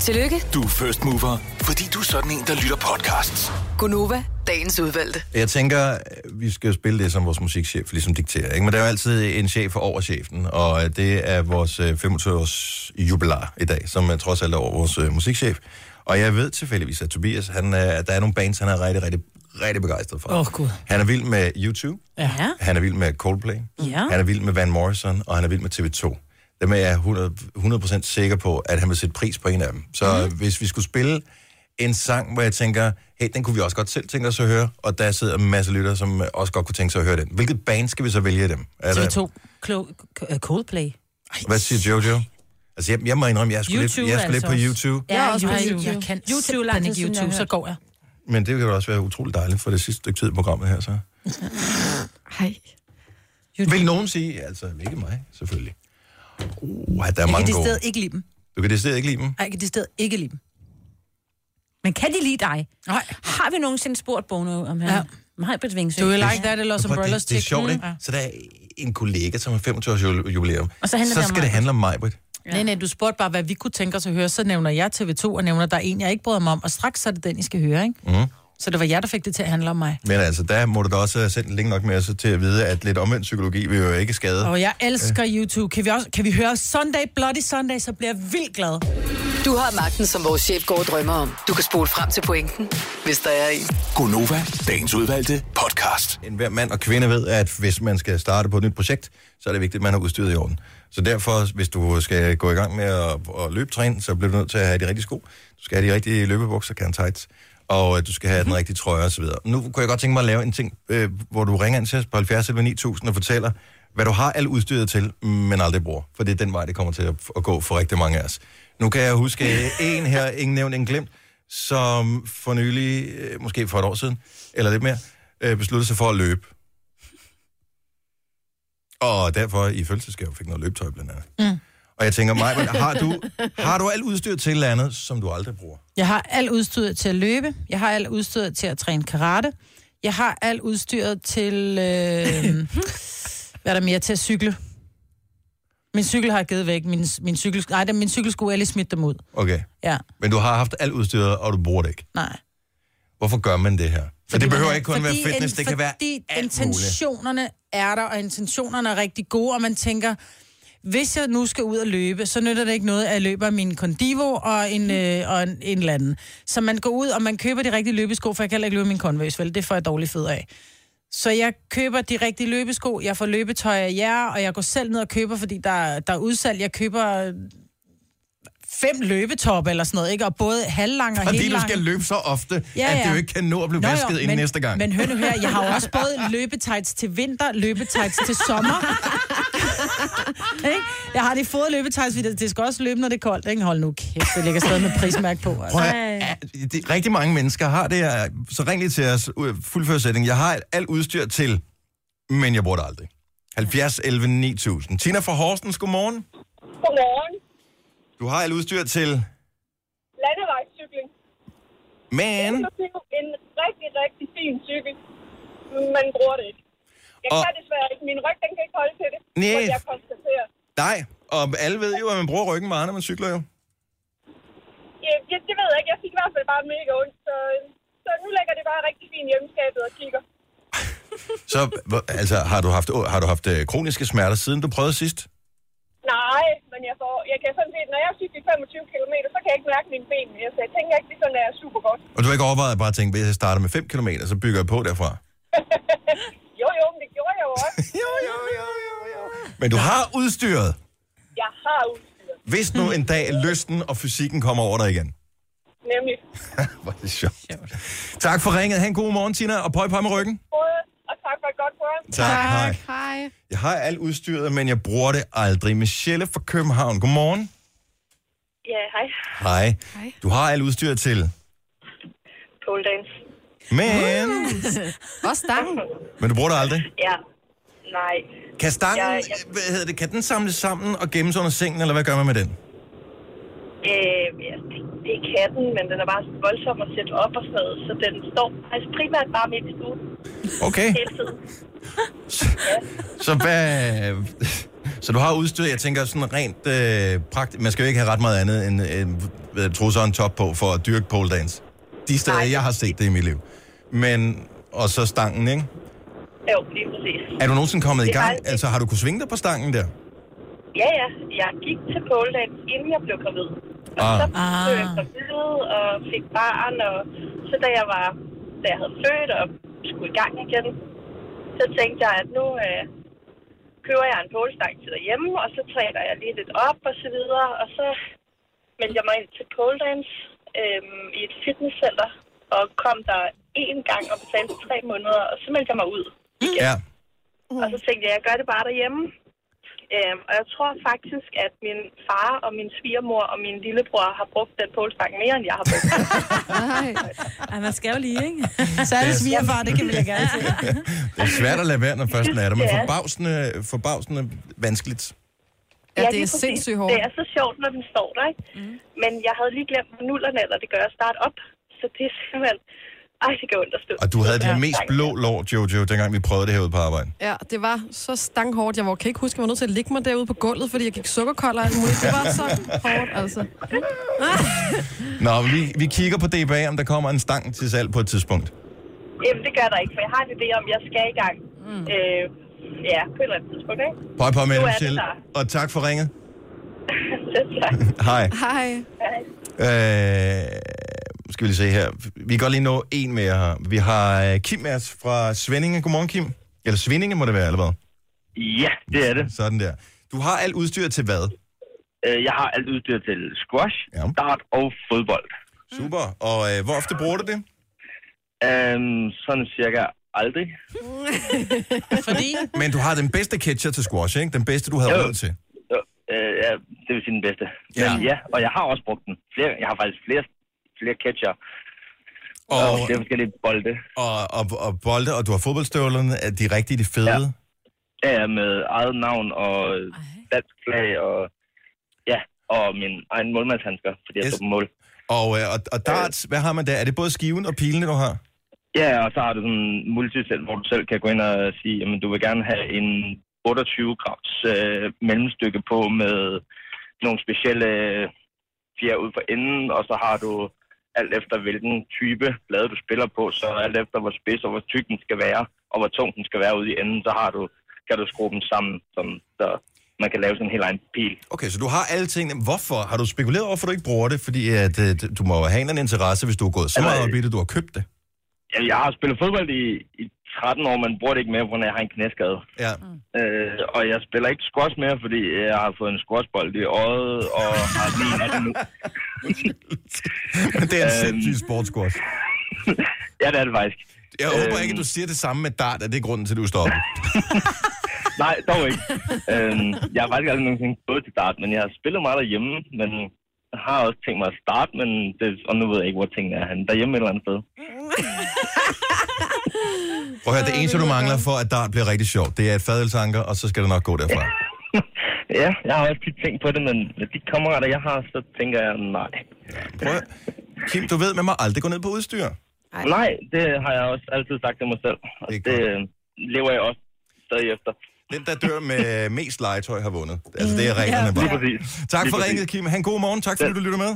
S6: Tillykke,
S7: Du er first mover, fordi du er sådan en, der lytter podcasts.
S6: Gunova, dagens udvalgte.
S1: Jeg tænker, øh, vi skal jo spille det, som vores musikchef ligesom dikterer. Ikke? Men der er jo altid en chef over chefen, og øh, det er vores 25-års jubilar i dag, som er trods alt er over vores øh, musikchef. Og jeg ved tilfældigvis, at Tobias, han, øh, at der er nogle bands, han er rigtig, rigtig, rigtig begejstret for.
S4: Åh, oh, Gud.
S1: Han er vild med YouTube,
S4: Ja.
S1: han er vild med Coldplay,
S4: Ja.
S1: han er vild med Van Morrison, og han er vild med TV2. Dem er jeg 100, 100% sikker på, at han vil sætte pris på en af dem. Så
S4: Mhm.
S1: mm. hvis vi skulle spille en sang, hvor jeg tænker, hey, den kunne vi også godt selv tænke os at høre, og der sidder en masse lyttere, som øh, også godt kunne tænke sig at høre den. Hvilket band skal vi så vælge af dem? Er der-
S13: TV2 Klo- K- øh, Coldplay.
S1: Hvad siger Jojo? Altså, jeg, jeg må indrømme, jeg er sgu lidt,
S13: YouTube
S1: jeg er sgu lidt
S13: altså
S1: på
S13: også.
S1: YouTube,
S13: Ja,
S4: Jeg er
S13: også på
S4: ej,
S13: YouTube.
S4: Jeg kan
S13: YouTube,
S4: YouTube,
S13: lang tid
S4: ikke
S13: siden, jeg
S4: YouTube,
S13: har
S4: så
S13: hørt.
S4: går jeg.
S1: men det kan jo også være utroligt dejligt for det sidste stykke tid i programmet her,
S4: Uh.
S1: så.
S3: Hej.
S1: Vil nogen sige, altså ikke mig, selvfølgelig. Uh, der er
S4: Jeg kan
S1: mange
S4: det
S1: gode.
S4: sted ikke lide dem.
S1: Du kan decideret ikke lide dem?
S4: Ej, jeg kan det sted ikke lide dem.
S13: Men kan de lide dig?
S4: Nej.
S13: Har vi nogensinde spurgt Bono om han? Ja. Har Bitvings,
S4: Do you like that, eller Los
S1: Men prøv,
S4: Umbrellas
S1: det, det er sjovt, ikke? Så der er en kollega, som har 25 års jul- jubilæum.
S4: Og så handler
S1: så
S4: det om
S1: skal
S4: Maj-Brit.
S1: det handle om mig, Britt.
S4: Ja. Nej, nej, du spurgte bare, hvad vi kunne tænke os at høre. Så nævner jeg TV2, og nævner, der er en, jeg ikke bryder mig om. Og straks så er det den, I skal høre, ikke?
S1: Mm.
S4: Så det var jeg, der fik det til at handle om mig.
S1: Men altså, der må du da også have sendt længe nok med os til at vide, at lidt omvendt psykologi vil jo ikke skade.
S4: Og jeg elsker YouTube. Kan vi, også, kan vi høre Sunday Bloody Sunday, så bliver jeg vildt glad.
S6: Du har magten, som vores chef går og drømmer om. Du kan spole frem til pointen, hvis der er en.
S7: Gonova, dagens udvalgte podcast.
S1: Øh. En hver mand og kvinde ved, at hvis man skal starte på et nyt projekt, så er det vigtigt, at man har udstyret i orden. Så derfor, hvis du skal gå i gang med at, at løbe træne, så bliver du nødt til at have de rigtige sko. Du skal have de rigtige løbebukser, kan tights. Og øh, du skal have den rigtige trøje osv. Nu kunne jeg godt tænke mig at lave en ting, øh, hvor du ringer ind til os på 70 eller 9000 og fortæller, hvad du har alt udstyret til, men aldrig bruger. For det er den vej, det kommer til at, at gå for rigtig mange af os. Nu kan jeg huske øh, en her, ingen nævnt, ingen glemt, som for nylig, øh, måske for et år siden, eller lidt mere, øh, besluttede sig for at løbe. Og derfor i fødselsdagsgave fik noget løbetøj blandt andet.
S4: Mm.
S1: Og jeg tænker, Maja, har du, har du alt udstyr til et eller andet, som du aldrig bruger?
S4: Jeg har alt udstyret til at løbe. Jeg har alt udstyret til at træne karate. Jeg har alt udstyret til... Øh, hvad er der mere til at cykle? Min cykel har jeg givet væk. Min, min, cykel, nej, det- min cykelsko, jeg har lige smidt dem ud.
S1: Okay.
S4: Ja,
S1: Men du har haft alt udstyret, og du bruger det ikke.
S4: nej.
S1: Hvorfor gør man det her? For det behøver ikke kun
S4: Fordi
S1: være fitness,
S4: en-
S1: det kan være
S4: Fordi
S1: alt muligt.
S4: intentionerne er der, og intentionerne er rigtig gode, og man tænker, hvis jeg nu skal ud og løbe, så nytter det ikke noget, at jeg løber min Condivo og
S1: Mm.
S4: en, øh, og en, en eller anden. Så man går ud, og man køber de rigtige løbesko, for jeg kan heller ikke løbe min Converse, vel? Det får jeg dårlig fed af. Så jeg køber de rigtige løbesko, jeg får løbetøj af jer, og jeg går selv ned og køber, fordi der, er- der er udsalg. Jeg køber fem løbetop eller sådan noget, ikke? Og både halvlang og
S1: Fordi
S4: hellang.
S1: du skal løbe så ofte,
S4: Ja,
S1: ja, ja. at
S4: ja.
S1: det jo ikke kan nå at blive
S4: Nå,
S1: Nå,
S4: jo,
S1: vasket inden
S4: men,
S1: næste gang.
S4: Men hør nu her, jeg har jo også både løbetights til vinter, løbetights til sommer. ikke? Jeg har de fået løbetights, fordi det skal også løbe, når det er koldt. Ikke? Hold nu kæft, det ligger stadig med prismærke på. Altså.
S1: Prøv at, ja, det, rigtig mange mennesker har det her. Så ring lige til os. øh, Fuldfør sætningen. Jeg har alt udstyr til, men jeg bruger det aldrig. 70 11 9000. Tina fra Horsens, godmorgen.
S20: Godmorgen.
S1: Du har alt udstyr til,
S20: Landevejscykling.
S1: men...
S20: Det er jo en rigtig, rigtig fin cykel. Man bruger det ikke. Jeg
S1: Og-
S20: kan desværre ikke. Min ryg, den kan ikke holde til det.
S1: Næh.
S20: måtte jeg konstaterer.
S1: Nej, og alle ved jo, at man bruger ryggen meget, når man cykler jo.
S20: Ja, det, det ved jeg ikke. Jeg fik i hvert fald bare mega ondt. Så, så nu lægger det bare rigtig fint hjemmeskabet og kigger.
S1: Så hvor- altså, har du haft, har du haft øh, kroniske smerter, siden du prøvede sidst?
S20: Nej, men jeg, får, jeg kan sådan set, når jeg cykler 25 km, så kan jeg ikke mærke mine ben mere. Så jeg tænker ikke, det sådan er super godt.
S1: Og du har ikke overvejet at bare tænke, hvis jeg starter med 5 km, så bygger jeg på derfra.
S20: Jo, jo, men det gjorde jeg jo også.
S1: jo, jo, jo, jo, jo. Men du har udstyret,
S20: Jeg har udstyr,
S1: hvis nu en dag lysten og fysikken kommer over dig igen.
S20: nemlig.
S1: Hvor er det sjovt. Tak for ringet. Ha' en god morgen, Tina, og pøj pøj med ryggen.
S20: Både, og tak for et godt program.
S1: Tak, Tak. hej.
S20: Hej.
S1: Jeg har alt udstyret, men jeg bruger det aldrig. Michelle fra København, godmorgen.
S21: Ja, hej.
S1: Hej. Du har alt udstyret til,
S21: Pole dance.
S1: men,
S21: Og stang.
S1: men du bruger det aldrig.
S21: Ja. Nej.
S1: Kan stangen,
S21: Jeg- jeg-
S1: hvad hedder det, kan den samles sammen og gemmes under sengen, eller hvad gør man med den?
S21: Øh, ja, det, det er katten, men den er bare voldsom at sætte op og sådan noget, så den står faktisk primært bare midt i stuen.
S1: Okay.
S21: Hele tiden.
S1: Så hvad... Så du har udstyr, jeg tænker sådan rent øh, praktisk. Man skal jo ikke have ret meget andet end øh, trusser og en top på for at dyrke pole dance. De steder, jeg har set det i mit liv. Men, og så stangen, ikke?
S21: Jo, lige præcis.
S1: Er du nogensinde kommet i
S21: Det er
S1: gang?
S21: dejligt.
S1: Altså, har du kunnet svinge dig på stangen der?
S21: Ja, ja. Jeg gik til pole dance, inden jeg blev gravid. Og
S1: Ah.
S21: så blev jeg gravid og fik barn, og så da jeg var, da jeg havde født og skulle i gang igen, så tænkte jeg, at nu øh, køber jeg en polestang til derhjemme, og så træner jeg lige lidt op og så videre, og så meldte jeg mig ind til pole dance øhm, i et fitnesscenter, og kom der én gang og betalte tre måneder, og så meldte jeg mig ud.
S1: Ja.
S21: Og så tænkte jeg, at jeg gør det bare derhjemme. Øhm, og jeg tror faktisk, at min far og min svigermor og min lillebror har brugt den polestang mere, end jeg har brugt den.
S2: Ej, man skal jo lige, ikke?
S1: Yes.
S2: Særligt svigerfar, det kan vi da gerne se.
S1: Det er svært at lade være, når først den er der, men
S21: Ja.
S1: forbavsende, forbavsende vanskeligt.
S21: Ja, det er sindssygt hårdt. Det er så sjovt, når den står der, ikke? Mm. Men jeg havde lige glemt nullerne, eller det gør jeg start op. Så det er simpelthen... Ej, det gør ondt at stå.
S1: Og du havde
S21: Ja.
S1: det mest blå lår, Jojo, dengang vi prøvede det herude på arbejde.
S3: Ja, det var så stanghårdt. Jeg var, kan ikke huske, jeg var nødt til at ligge mig derude på gulvet, fordi jeg gik sukkerkold og alt muligt. Det var så hårdt, altså.
S1: Nå, vi, vi kigger på DBA, om der kommer en stang til salg på et tidspunkt.
S21: Jamen, det gør der ikke, for jeg har en idé om, at jeg skal i gang. Mm. Øh, ja, på et eller andet tidspunkt, ikke?
S1: Pøj på med
S21: Nu
S1: det,
S21: er det
S1: Michelle.
S21: der.
S1: Og tak for ringet.
S21: Selv tak.
S1: Hej.
S3: Hej.
S1: Øh, skal vi lige se her. Vi kan godt lige nå en mere her. Vi har øh, Kim med os fra Svendinge. Godmorgen, Kim. Eller Svindinge må det være, eller hvad?
S8: Ja, det er det.
S1: Sådan der. Du har alt udstyr til hvad?
S8: Øh, Jeg har alt udstyr til squash, ja. dart og fodbold.
S1: Super. Og øh, hvor ofte bruger du det?
S8: Øhm, sådan cirka aldrig.
S4: Fordi?
S1: Men du har den bedste catcher til squash, ikke? Den bedste, du havde
S8: Jo.
S1: råd til.
S8: Jo, øh, ja, det vil sige den bedste. Ja. Men ja, og jeg har også brugt den. Flere, jeg har faktisk flere, flere catcher. Og, og flere forskellige bolde.
S1: Og, og, og bolde, og du har fodboldstøvlerne, er de rigtige, de fede? Ja.
S8: Ja, ja, med eget navn og øh, dansk flag og... Ja, og min egen målmandshandsker, fordi jeg yes. stod på mål.
S1: Og, øh, og, og darts, hvad har man der? Er det både skiven og pilene, du har?
S8: Ja, og så har du sådan en multisæt, hvor du selv kan gå ind og sige, at du vil gerne have en 28 grams øh, mellemstykke på med nogle specielle øh, fjer ud for enden, og så har du alt efter hvilken type blade du spiller på, så alt efter hvor spids og hvor tyk den skal være, og hvor tung den skal være ude i enden, så har du, kan du skrue dem sammen, som, så man kan lave sådan en helt egen pil.
S1: Okay, så du har alle tingene. Hvorfor? Har du spekuleret over, hvorfor du ikke bruger det? Fordi at, øh, du må jo have en eller anden interesse, hvis du har gået
S8: Altså,
S1: så
S8: øh,
S1: meget op i det, du har købt det.
S8: Jamen, jeg har spillet fodbold i, i 13 år, men bruger det ikke mere, fordi jeg har en knæskade.
S1: Ja.
S8: Øh, og jeg spiller ikke squash mere, fordi jeg har fået en squashbold i øjet, og har lige af det nu.
S1: Men det er en
S8: Øhm.
S1: sindssyg sportsquash.
S8: ja, det er det faktisk.
S1: Jeg håber ikke, at
S8: Øhm.
S1: du siger det samme med dart, at det er grunden til, at du stopper.
S8: Nej, dog ikke. øhm, jeg har faktisk aldrig nogensinde gået til dart, men jeg har spillet meget derhjemme, men jeg har også tænkt mig at starte, men det, og nu ved jeg ikke, hvor tingene er henne. Derhjemme et eller andet sted.
S1: Prøv at høre, det eneste, du mangler for, at dart bliver rigtig sjovt, det er et fadelsanker, og så skal det nok gå derfra.
S8: Ja, jeg har også tit tænkt på det, men med de kammerater, jeg har, så tænker jeg, nej.
S1: Prøv at- Kim, du ved, man må aldrig gå ned på udstyr.
S8: Ej. Nej, det har jeg også altid sagt til mig selv, og det, det øh, lever jeg også stadig efter.
S1: Den, der dør med mest legetøj, har vundet. Altså, det er
S8: Mm,
S1: reglerne
S8: ja.
S1: bare.
S8: Lige præcis.
S1: Tak
S8: Lige
S1: for
S8: præcis.
S1: ringet, Kim. Han god morgen. Tak, fordi du lytter med.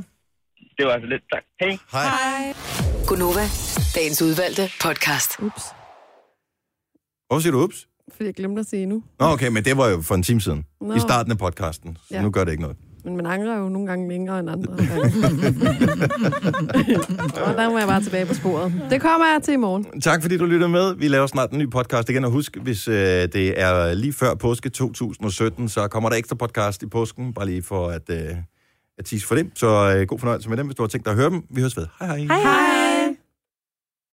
S8: Det var altså lidt. Tak. Hej.
S1: Hej.
S6: Gunova, dagens udvalgte podcast.
S3: Ups,
S1: Hvorfor siger du ups?
S3: fordi jeg glemte at sige nu.
S1: Nå, okay, men det var jo for en time siden.
S3: Nå.
S1: I starten af podcasten. Så
S3: Ja.
S1: nu gør det ikke noget.
S3: Men man angrer jo nogle gange længere end andre. og der må jeg bare tilbage på sporet. Det kommer jeg til i morgen.
S1: Tak fordi du lytter med. Vi laver snart en ny podcast igen, og husk, hvis øh, det er lige før påske 2017, så kommer der ekstra podcast i påsken, bare lige for at, øh, at tease for det. Så øh, god fornøjelse med dem, hvis du har tænkt dig at høre dem. Vi høres ved. Hej hej.
S5: Hej hej.